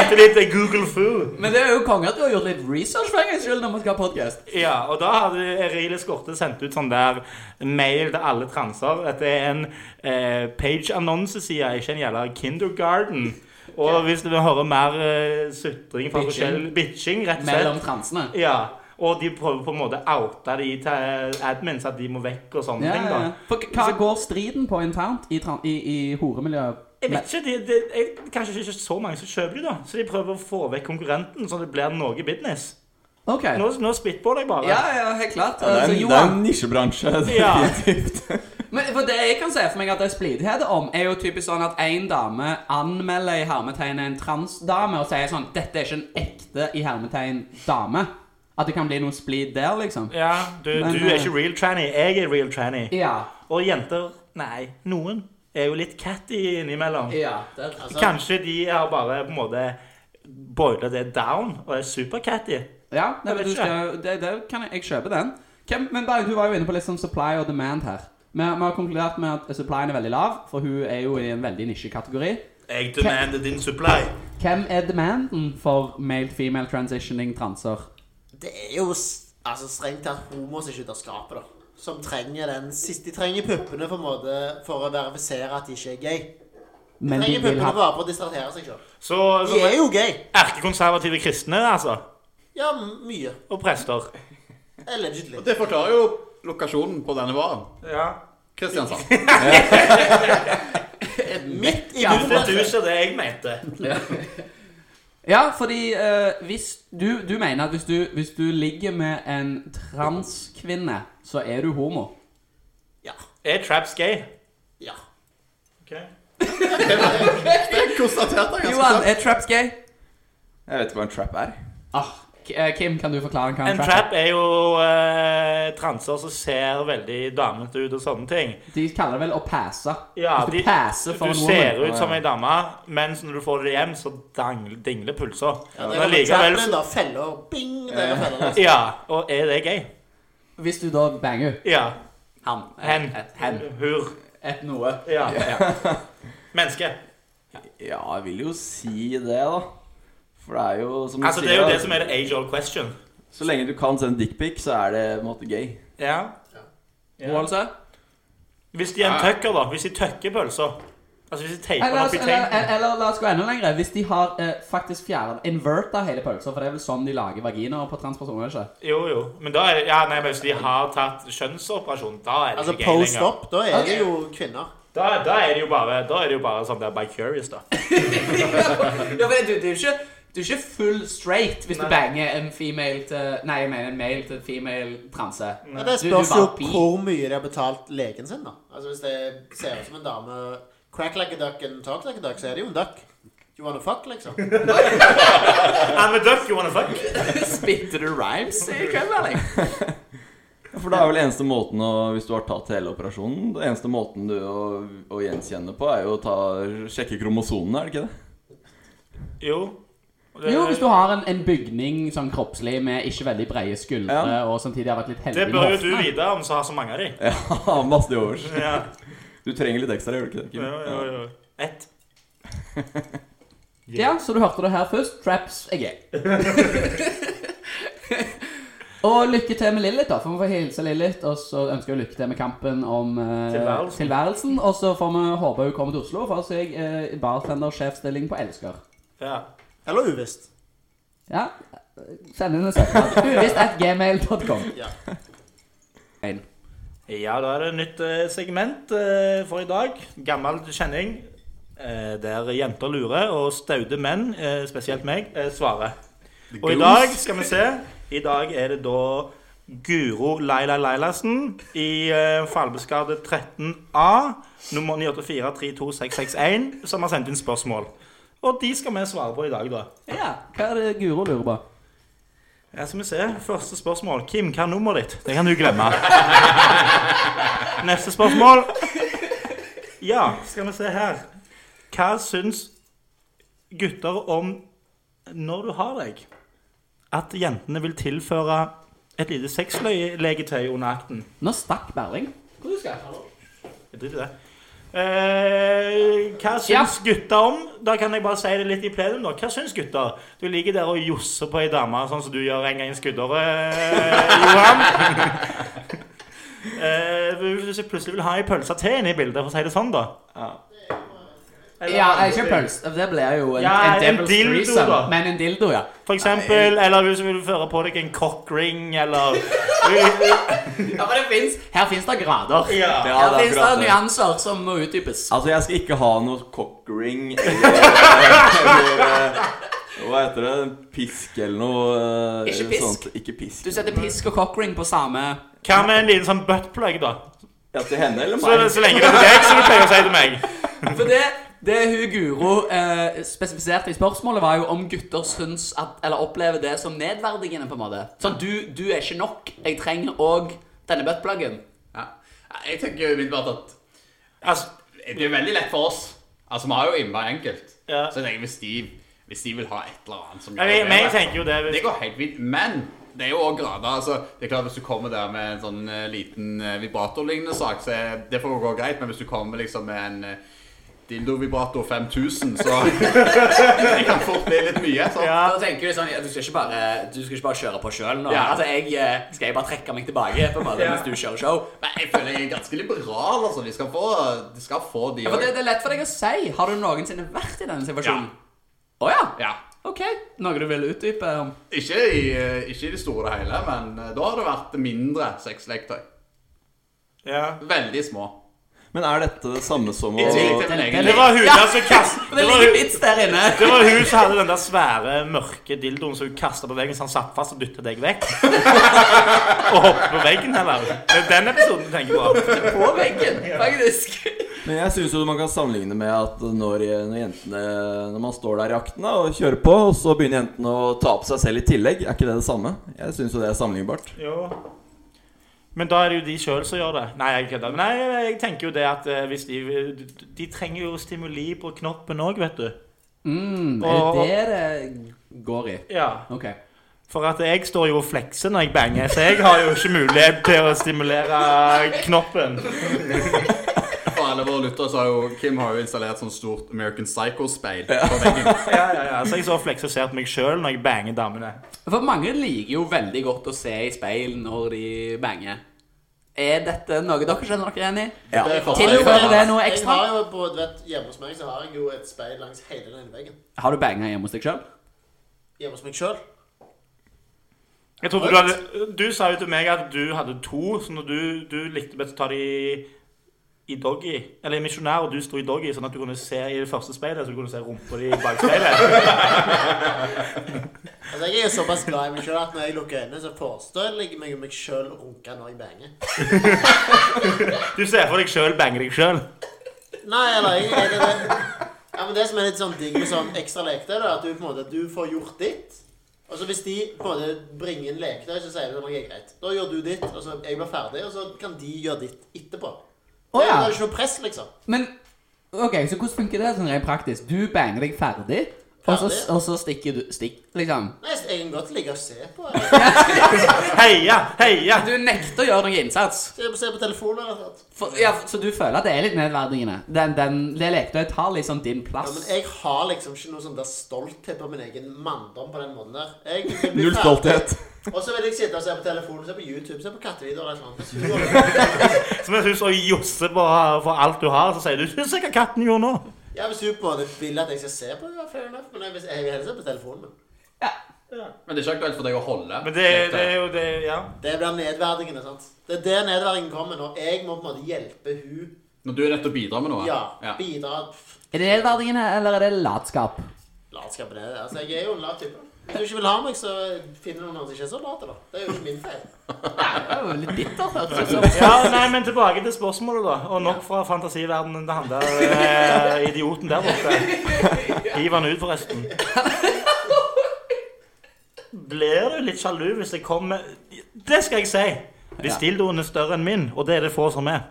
etter litt eh, Google Foo. Men det er jo konge at du har gjort litt research for en gangs skyld når vi skal ha podkast. Ja, og da hadde Eril Eskorte sendt ut sånn der mail til alle transer. Dette er en eh, page-annonseside, ikke en jævla kindergarten. Og hvis du vil høre mer eh, sutring fra Bitching. forskjellig bitching, rett og slett Mellom transene. Ja, og de prøver på en måte å oute de til admins at de må vekk og sånne Ja, ting. ja. da. ja. For k- hva går striden på internt i, tran- i, i horemiljøet? Jeg vet ikke, det, det er kanskje ikke så mange som kjøper de da Så de prøver å få vekk konkurrenten Så det blir noe business Ok. Nå, nå spitballer jeg bare Ja, ja, helt klart. Ja, det, er Altså, en, det er Johan, en nisjebransje. Ja. definitivt. Men for Det jeg kan se for meg at det er splidighet om, er jo typisk sånn at en dame anmelder i hermetegn en transdame og sier sånn 'Dette er ikke en ekte i hermetegn dame'. At det kan bli noe splid der, liksom. Ja, du, Men, du er eh, ikke real tranny Jeg er real tranny Ja. Og jenter, nei, noen Er jo litt catty innimellom Ja, der. Altså, Kanskje de har bare på en måte Boilet det down Og er super catty ja det, Jeg vet du ikke. skal, det, det kan jeg, jeg kjøpe den. Hvem, men Berg, du var jo inne på litt sånn supply og demand her. Vi, vi har konkludert med at supplyen er veldig lav, for hun er jo i en veldig nisjekategori. Jeg demander din supply Hvem er demanden for male-female transitioning transer? det er jo s- altså, strengt tatt homo som ikke ut av skapet, da. Som trenger den siste De trenger puppene for, en måte, for å verifisere at de ikke er gay. De Men de trenger vil puppene ha bare for å distrahere seg sjøl. Så, De så er jo gay. erkekonservative kristne altså Ja, m- mye. Og prester Allegedly. Det forklarer jo lokasjonen på denne varen. Ja Kristiansand. Midt i Det byen. er du som det jeg mente Ja, fordi eh, hvis du, du mener at hvis du, hvis du ligger med en transkvinne, så er du homo. Ja. Er traps gay? Ja. Det konstaterte jeg ganske Johan, kjapt. er traps gay? Jeg vet ikke hva en trap er. Ah, K- eh, Kim, kan du forklare hva En en trap trap er? er jo eh, transer som ser veldig damete ut og sånne ting. De kaller det vel å passe. Ja, hvis du de- passer for Du en ser woman. ut som ei dame, mens når du får det hjem, så dangl- dingler pulser. ja det Men er jo allikevel Chaplin, da. Feller. Bing! Det er feller. så- Ja, og er det gay? Hvis du da banger Ja. han, Hen. et, hen, Hur. et noe. Ja. Menneske. Ja, jeg vil jo si det, da. For det er jo som du Altså, det er sier jo da, det som er the age old question. Så lenge du kan sende dickpic, så er det på en måte gay. Ja. Ja. Roaldse? Hvis de er en tøkker, da. Hvis de tøkker pølser. Altså, hvis de teiper den Eller, opp i eller, tanken. eller la oss gå enda lenger. Hvis de har eh, faktisk fjernet inverta hele pølsa, for det er vel sånn de lager vaginaer på transpersoner, ikke? Jo, jo. Men da er Ja, nei, men hvis de har tatt kjønnsoperasjon, da er det Altså ikke gay lenger. post-op, da er det jo kvinner. Da, da er det jo bare, da er det jo bare sånn der by curious, da. Ja, men du, du, er ikke, du er ikke full straight hvis Nei. du banger en female til Nei, jeg mener en male til en female transe. Ja, det Du- du spørs var jo bi. hvor mye de har betalt legen sin, da. Altså Hvis det ser ut som en dame Crack like a duck and talk like a duck, så er det jo en duck. You wanna fuck, liksom. I'm a duck, you wanna fuck? Spitter du rhymes i kveld, eller? Ja, For det er vel eneste måten å Hvis du har tatt hele operasjonen Det eneste måten du å, å gjenkjenne på, er jo å ta, sjekke kromosonene, er det ikke det? Jo. Det- Jo, hvis du har en, en bygning sånn kroppslig med ikke veldig brede skuldre, Ja. og samtidig har vært litt heldig Det med bør jo du hoftene. vite om så har så mange av de. Ja, masse til overs. Ja, Du trenger litt ekstra, gjør du ikke det? Kim? jo, jo, jo. Ett. Ja, så du hørte det her først. Traps er gay. og lykke til med Lilith, da. For vi får hilse Lilith, og så ønsker vi lykke til med kampen om eh, Tilværelsen. tilværelsen. Og så får vi håpe hun kommer til Oslo og får seg uh, bartendersjefstilling på Elsker. Ja. Eller uvisst. Ja, send inn en søknad. Uvisst at gmail.com. Ja. ja, da er det et nytt eh, segment eh, for i dag. Gammel kjenning. eh, Der jenter lurer, og staude menn, eh, spesielt meg, eh, svarer. Og i dag skal vi se. I dag er det da Guro Laila Lailassen i uh, Falbeskade 13A, nummer 984-32661, som har sendt inn spørsmål. Og de skal vi svare på i dag, da. Ja, hva er det Guro lurer på? Ja, skal vi se. Første spørsmål. Kim, hva er nummeret ditt? Det kan du glemme. Neste spørsmål. Ja, skal vi se her. Hva syns gutter om når du har deg? at jentene vil tilføre et lite sexlegetøy under akten. Nå stakk Berling. Hvor du skal Jeg driter i det. Eh, hva syns Ja. gutta om Da kan jeg bare si det litt i plenum, da. Hva syns gutta? Du ligger der og josser på ei dame, sånn som du gjør en gang i skuddåret, eh, Johan. Eh, hvis du plutselig vil ha ei pølse til inne i bildet, for å si det sånn, da. Eller- Ja, ikke pølse. Det blir jo en, Ja, en en devil's dildo, threesome. da. Men en dildo, ja. For eksempel, eller hvis du vil føre på deg en cockring, eller ja men det finnes, her fins det grader. Ja, ja. Her det er fins det akkurat det. nyanser som må utdypes. Altså, jeg skal ikke ha noe cockring eller, eller eh, Hva heter det? Pisk eller noe eh, Ikke pisk. sånt. Ikke pisk. Du setter pisk og cockring på samme Hva med en liten sånn buttplug, da? Ja, til henne eller Så, meg? så lenge det er til deg, som du pleier å si til meg. For det, det hun Guro eh, spesifiserte i spørsmålet, var jo om gutter syns at, eller opplever det som nedverdigende. på en måte Sånn, du, du er ikke nok. Jeg trenger òg denne buttpluggen. Ja. Jeg tenker jo umiddelbart at Altså, det er jo veldig lett for oss. Altså, vi har jo innmari enkelt. Ja. Så jeg tenker hvis de, hvis de vil ha et eller annet som jeg, vet- men jeg bedre, tenker jo det Det hvis, går helt fint. Men det er jo også grader. altså. Det er klart Hvis du kommer der med en sånn eh, liten eh, vibratorlignende sak, så er, det får gå greit. Men hvis du kommer liksom med en eh, dildo-vibrator 5000, så Det kan fort bli litt mye. Så. Ja. Da tenker du sånn ja, Du skal ikke bare, du skal ikke bare kjøre på sjøl nå. Ja. Altså, jeg, eh, skal jeg bare trekke meg tilbake på en måte mens du kjører show? Men jeg føler jeg er ganske liberal, altså. De skal få de, skal få de Ja, for det, også. det er lett for deg å si. Har du noensinne vært i denne situasjonen? Å ja. Ja. Ok. Noe du vil utdype om? Ikke i, eh, ikke i det store og hele, men eh, da har det vært mindre sexleketøy. ja. Veldig små. Men er dette det samme som å I tillegg til min egen Det var hun der som kast... Men Det det var ligger hun, vits der inne. det var hun som hadde den der svære, mørke dildoen som hun kasta på veggen, så han satt fast og dytta deg vekk. Og hoppet på veggen, heller. Det er den episoden du tenker på. På veggen, faktisk. Men jeg syns man kan sammenligne med at når, når jentene Når man står der i akten da, og kjører på, og så begynner jentene å ta på seg selv i tillegg, er ikke det det samme? Jeg syns jo det er sammenlignbart. Jo. Men da er det jo de sjøl som gjør det. Nei, jeg kødder. Men Nei, jeg tenker jo det at eh, hvis de De trenger jo stimuli på knoppen òg, vet du. Mm, Og- er det det går i? Ja. Ok. For at jeg står jo og flekser når jeg banger, så jeg har jo ikke mulighet til å stimulere knoppen. For alle våre lyttere så har jo Kim har jo installert sånn stort American Psycho-speil på veggen. Ja, ja, ja. Så jeg står og flekser og ser på meg sjøl når jeg banger damene. For mange liker jo veldig godt å se i speil når de banger. Er dette noe dere kjenner dere igjen i? Ja. Jeg har- Tilfører det noe Jeg ekstra? har jo på, du vet, Hjemme hos meg så har jeg jo et speil langs hele den veggen. Har du banga hjemme hos deg sjøl? Hjemme hos meg sjøl. Jeg trodde du, hadde, du sa jo til meg at du hadde to, så når du, du likte best å ta de i doggy, eller i misjonær, og du sto i doggy, sånn at du kunne se i det første speilet, så du kunne se rumpa di bak speilet. Altså, jeg er jo såpass glad i meg sjøl at når jeg lukker øynene, så forestiller jeg meg meg sjøl runke når jeg banger. Du ser for deg sjøl bange deg sjøl. Nei, eller jeg, jeg, det, ja, men det som er litt sånn digg med sånn ekstra leketøy, da, at du på en måte du får gjort ditt. Og så hvis de på en måte bringer inn leketøy, så sier du at det er greit. Da gjør du ditt, og så jeg blir ferdig, og så kan de gjøre ditt etterpå. Å, Det, ja. det er ikke noe press, liksom. Men ok, så hvordan funker det sånn rent praktisk? Du banger deg ferdig, og så, Ferdig? og så stikker du Stikk, liksom. Nei, så jeg kan godt ligge og se på. Eller, Heia, heia! Du nekter å gjøre noen innsats. se, se på telefonen eller noe. sånt. For, ja, så du føler at det er litt nedverdigende? Den, den, det leketøyet tar liksom din Ja, plass? men jeg har liksom ikke noe sånn der stolthet på min egen manndom på den måten der. Jeg, jeg blir Null ferdig. stolthet. Og så vil jeg sitte og se på telefonen, se på YouTube, se på kattevideoer eller sånt. Så går det. Så mens hun står og josser på, på alt du har, så sier du 'Se hva katten gjorde nå'. Ja, hvis hun på en måte vil at jeg skal se på det, ja, fair enough. Men jeg vil jeg vil heller se på telefonen min. Men det er ikke aktuelt for deg å holde. Men det, det er jo det Ja. Det blir nedverdigende, sant? Det er der nedverdigen kommer, når jeg må på en måte hjelpe hun. Når du er nødt til å bidra med noe. Ja, Ja. bidra. Pff, Er det nedverdigende, eller er det latskap? Latskap er det. Altså, jeg er jo en lat type. Hvis du ikke vil ha meg, så finner du noen andre som ikke er så late, da. Det er jo ikke min feil. Det er jo litt bittert, hørtes det ut som. Ja, nei, men tilbake til spørsmålet, da. Og nok fra fantasiverdenen til han der eh, idioten der borte. Hiv han ut, forresten. Blir du litt sjalu hvis jeg kommer Det skal jeg si! Hvis dildoen er større enn min, og det er det få som er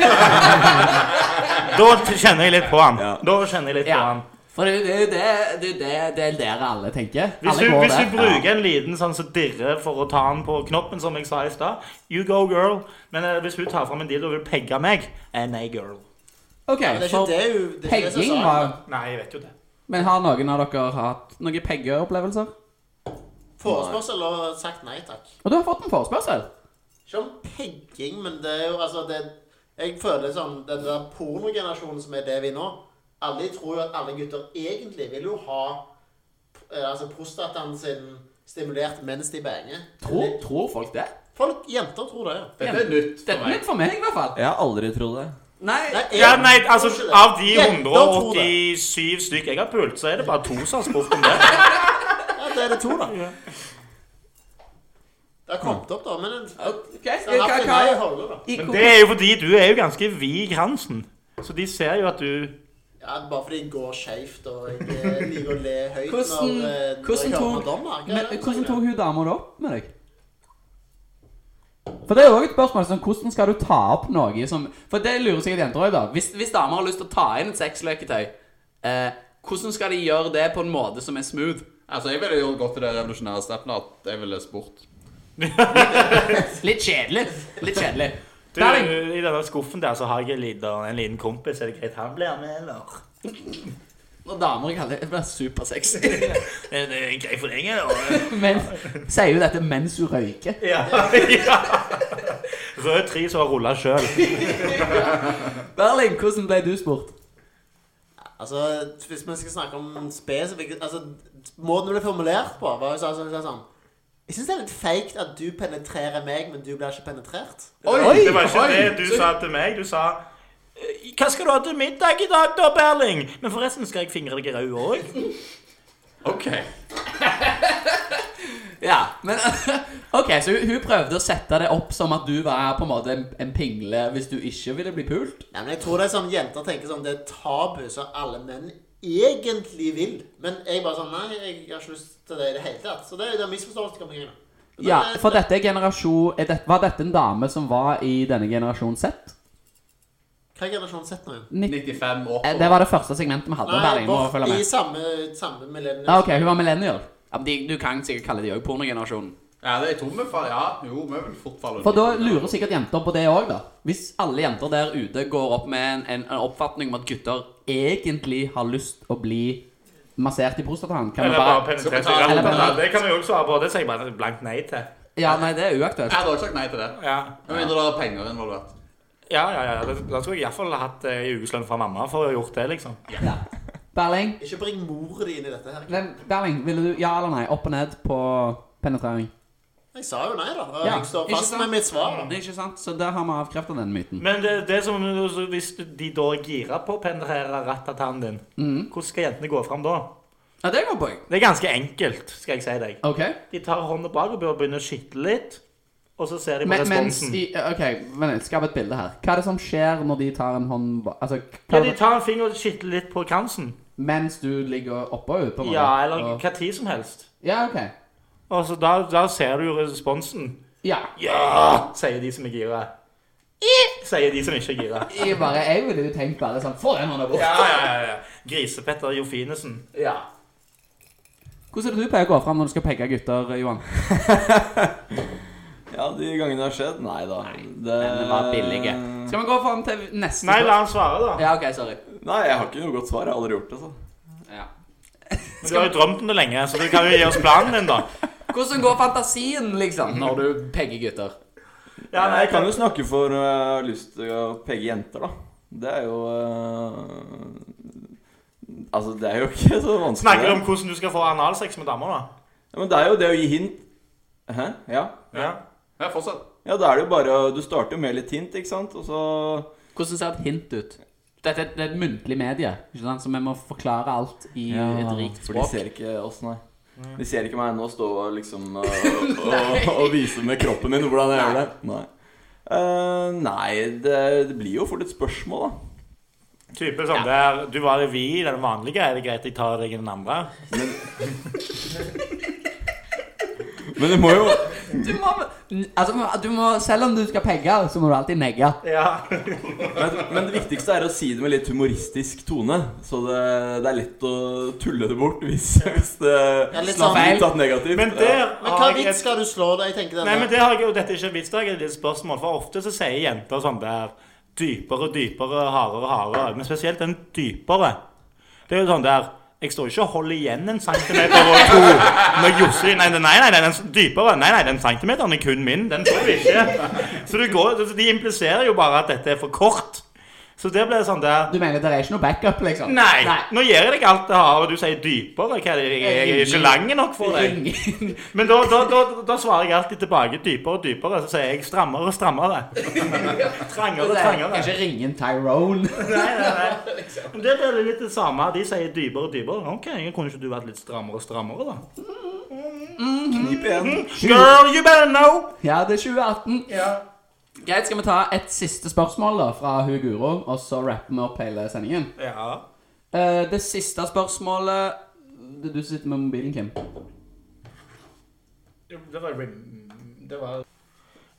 Da kjenner jeg litt på han. Ja. Da kjenner jeg litt på Ja. han. For det er jo det, det, er jo det, det er dere alle tenker. Hvis alle du, går hvis der. du bruker en liten sånn som dirrer for å ta den på knoppen, som jeg sa i stad You go, girl. Men eh, hvis hun tar fram en dildo og vil pegge meg eh, Nei, girl. Ok, Men det er så ikke det hun det er ikke det som er pegging saken. har Nei, jeg vet jo det. Men har noen av dere hatt noen peggeopplevelser? Forespørsel og sagt nei takk. Og du har fått en forespørsel. Ikke om pegging, men det er jo altså det, Jeg føler sånn den der pornogenerasjonen som er det vi nå Alle tror jo at alle gutter egentlig vil jo ha eh, altså prostataen sin stimulert mens de banger. Tror, tror folk det? Folk, Jenter tror det. ja. Dette er nytt Det er for meg. nytt for meg, i hvert fall. Jeg har aldri trodd det. Nei, jeg Ja, nei, tror altså ikke det. Av de Jenter tror det. 187 stykk jeg har pult, så er det bare to som har spurt om det. Ja, det er det to, da. Det har kommet opp, da. Men ok. det Hva, er hva, nei holder, da. i, Men hvor, det er jo fordi du er jo ganske vid i kransen. Så de ser jo at du Ja, bare fordi jeg går skeivt og jeg eh, liker å le høyt Hvordan- når, eh, når hvordan jeg hører tok- Madonna. Hva er sånn, men, det? hvordan tok hun dama det opp med deg? For det er jo også et spørsmål sånn, Hvordan skal du ta opp noe som For det lurer sikkert jenter òg, da. Hvis, hvis damer har lyst til å ta inn et sexleketøy, eh, hvordan skal de gjøre det på en måte som er smooth? Altså, jeg ville gjort godt i det revolusjonære steppet at jeg ville spurt. Litt kjedelig. Litt kjedelig. Du, Darling, I denne skuffen der så har jeg en liten, en liten kompis. Er det greit han blir med, eller? når damer kaller det, det blir supersexy. Er Eh, det greit for deg, eller? Men sier jo dette mens hun røyker. Ja. ja. Rød tre som har rulla sjøl. Berling, hvordan ble du spurt? Altså, hvis vi skal snakke om spesifikke altså, Måten det ble formulert på, var jo sånn, sånn, sånn, sånn Jeg syns det er litt feigt at du penetrerer meg, men du blir ikke penetrert. Det var ikke det du sa til meg. Du sa «Eh, Hva skal du ha til middag i dag, da, Berling? Men forresten skal jeg fingre deg i ræva òg. OK. Ja, men Ok, så hun, hun prøvde å sette det opp som at du var på en måte en, en pingle hvis du ikke ville bli pult? Nei, men jeg tror det er sånn jenter tenker sånn Det er tabu som alle menn egentlig vil. Men jeg bare sånn Nei, jeg har ikke lyst til det i det hele tatt. Så det, det er misforståelse. kommer igjen, da. Men Ja, det- for dette er generasjon er det, Var dette en dame som var i denne generasjon Z? Hva er generasjonen sett nå igjen? 95 år. Eh, Det var det første segmentet vi hadde. Berling må vårt- følge i med. samme, samme millennium. Ja, ok, Hun var millennial. Ja, men de, du kan sikkert kalle de òg pornogenerasjonen. Ja, det er tomme fall. Ja, jo, vi vil fort falle For da under. lurer sikkert jenter på det òg, da. Hvis alle jenter der ute går opp med en, en, en oppfatning om at gutter egentlig har lyst å bli massert i prostataen, kan vi Eller bare bare Skal vi penetrert ta- i eller ræva. bare- Det kan vi jo også svare på. Det sier jeg bare blankt nei til. Ja, nei, det er uaktuelt. Jeg hadde også sagt nei til det. Ja, Med mindre det er penger involvert. ja, ja. ja. Da da skulle jeg iallfall hatt ei ukeslønn fra mamma for å ha gjort det, liksom. Ja. Berling, Ikke bring mor di inn i dette her. hvem, Berling, ville du ja eller nei? Opp og ned på penetrering. Jeg sa jo nei, da. og Ja, Jeg står ikke fast sant? med mitt svar. da. Det er ikke sant, så der har vi avkrefta den myten. Men det, det som, så hvis de da girer på å penetrere rattatannen din, hvordan skal jentene gå fram da? Ja, det går på. jeg. Det er ganske enkelt, skal jeg si deg. Ok, De tar hånda bakover og begynner å skitle litt, og så ser de på men, mens responsen. i, ok, men skap et bilde her. Hva er det som skjer når de tar en hånd ba- Altså, hva Ja, er de det, tar en finger og skitler litt på kransen. mens du ligger oppå og ute? på en måte? Ja, eller Og- hva tid som helst. Ja, ok. Og så da, da ser du jo responsen. Ja. Ja! Sier de som er gira. Sier de som ikke er gira. Jeg, bare, jeg ville jo tenkt bare sånn Få den hånda bort! Ja, ja, ja, ja. Grisepetter Jofinesen. Ja. Hvordan er det du pleier å gå fram når du skal peke gutter, Johan? Ja, de gangene det har skjedd? Nei da. Det Den var billig. Skal vi gå fram til neste Nei, la han svare, da. Ja, OK, sorry. Nei, jeg har ikke noe godt svar. Jeg har aldri gjort det. altså. så. Ja. Men Du har jo drømt om det lenge, så du kan jo gi oss planen din, da. Hvordan går fantasien, liksom, når du peker gutter? Ja, nei, jeg kan jo snakke for når jeg har lyst til å pegge jenter, da. Det er jo eh, Altså, det er jo ikke så vanskelig. Snakker du om hvordan du skal få analsex med damer, da? Ja, men det er jo det å gi hint. Hæ? Ja. Ja. Ja, fortsett. Ja, da er det jo bare Du starter jo med litt hint, ikke sant? Og så Hvordan ser et hint ut? Dette er et, det er et muntlig medie, ikke sant? så vi må forklare alt i et rikt For de språk. ser ikke oss, nei. De ser ikke meg nå stå og liksom og, og, og vise med kroppen min hvordan jeg gjør det. Nei. Eh, nei, det, det blir jo fort et spørsmål, da. Type sånn der Du var i vi, den vanlige. Er det greit jeg tar deg i den andre? Men det må jo Du må, altså, du må, selv om du skal pegge, så må du alltid negge. Ja. men, men det viktigste er å si det med litt humoristisk tone, så det, det er lett å tulle det bort hvis, hvis det Ja, litt slår sånn- ut at negativt. Men der Ja. Men hva har jeg vits et skal du slå da? Jeg tenker Nei, men denne. det har jeg jo, Dette er ikke en vits, det er et spørsmål. For ofte så sier jenter sånn der dypere, dypere, hardere, hardere. Men spesielt den dypere. Det er jo sånn der Jeg står ikke og holder igjen en centimeter og to når Josselin nei, nei, nei, nei, den dypere. Nei, nei, den centimeteren er kun min. Den får vi ikke. Så du går, så de impliserer jo bare at dette er for kort. Så det blir sånn der Du mener det er ikke noe backup, liksom? Nei, nå gir jeg deg alt det har, og du sier dypere. Hva er det? Jeg, jeg er ikke lang nok for deg. Ingen- Men da, da, da, da svarer jeg alltid tilbake dypere og dypere. Så sier jeg strammere og strammere. Trangere og trangere. Kanskje ringe en Tyrone? Nei, nei, nei. Men Det blir litt det samme. De sier dypere og dypere. Ok, Kunne ikke du vært litt strammere og strammere, da? Knip igjen. Mm. Girl, you better know! Ja, det er 2018. Greit, skal vi ta et siste spørsmål da fra hun Guro, og så rapper vi opp hele sendingen? Ja. Eh, det siste spørsmålet Det er Du som sitter med mobilen, Kim. Det var, det var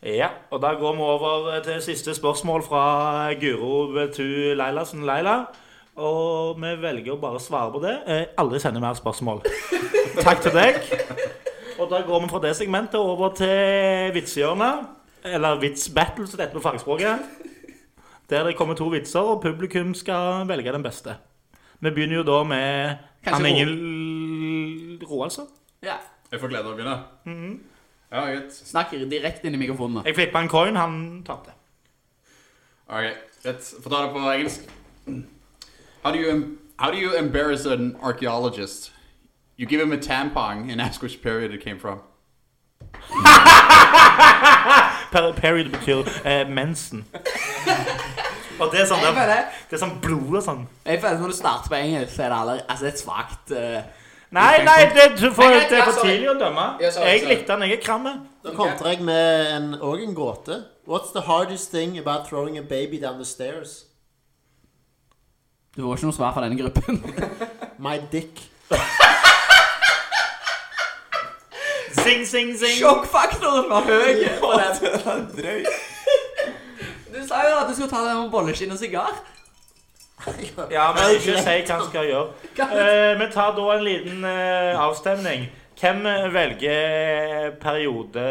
Ja, og da går vi over til siste spørsmål fra Guro Betu Leilassen Leila. Og vi velger å bare svare på det. Eh, Aldri sende mer spørsmål. Takk til deg. Og da går vi fra det segmentet over til vitsehjørnet. Eller vitsbattle, som det heter på fagspråket. Der det kommer to vitser, og publikum skal velge den beste. Vi begynner jo da med Kanskje Anne Ingel Roaldsen. Ja. Jeg får glede av å begynne. Ja, greit. Snakk direkte inn i mikrofonen. da. Jeg flippa en coin, han tapte. Ok, let's Få ta det på engelsk. How do you em- how do you embarrass an archaeologist? You give him a tampon and ask which period it came from. Per period betyr eh, mensen. Og det er sånn, Jeg det, føler, det er sånn blod og sånn. jeg føler Når du starter på engelsk, så er det allerede altså, det er et svakt eh, Nei, nei, det, du får, Nei, nei, det er ja, for sorry. tidlig å dømme. Ja, sorry, Jeg sorry. likte han, jeg er kramme. Da kontrer jeg med en, og en gåte. What's the hardest thing about throwing a baby down the stairs? Du får ikke noe svar fra denne gruppen. My dick. Sing, sing, sing. Sjokkfaktoren var høy. på den. Drøy. Du sa jo at du skulle ta det med bolleskinn og sigar. Ja, men ikke si hva han skal gjøre. Eh, vi tar da en liten eh, avstemning. Hvem eh, velger periode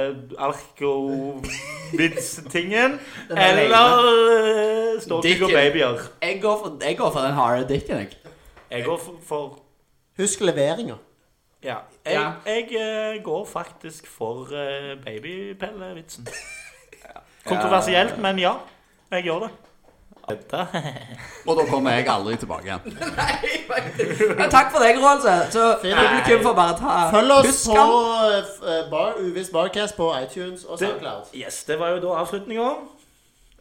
arkovits-tingen? Den er Eller eh, Storkug og Dicken. babyer? Jeg går for, jeg går for den harde dicken, jeg. Jeg går for, for Husk leveringa. Ja. Jeg, jeg eh, går faktisk for eh, babypellevitsen. Kontroversielt, men ja. Jeg gjør det. Dette. Og da kommer jeg aldri tilbake igjen. Men takk for deg, Roald. Så så Fint. publikum får bare ta Følg oss Husk på han. eh, f- eh, bar, Uvis Barcast på iTunes og SoundCloud. Yes, det var jo da avslutninga.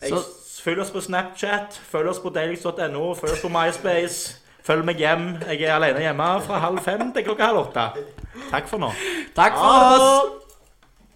Jeg- Følg oss på Snapchat, følg oss på dailys.no, følg oss på MySpace. Følg meg hjem. Jeg er alene hjemme fra halv fem til klokka halv åtte. Takk for nå. Takk for oss.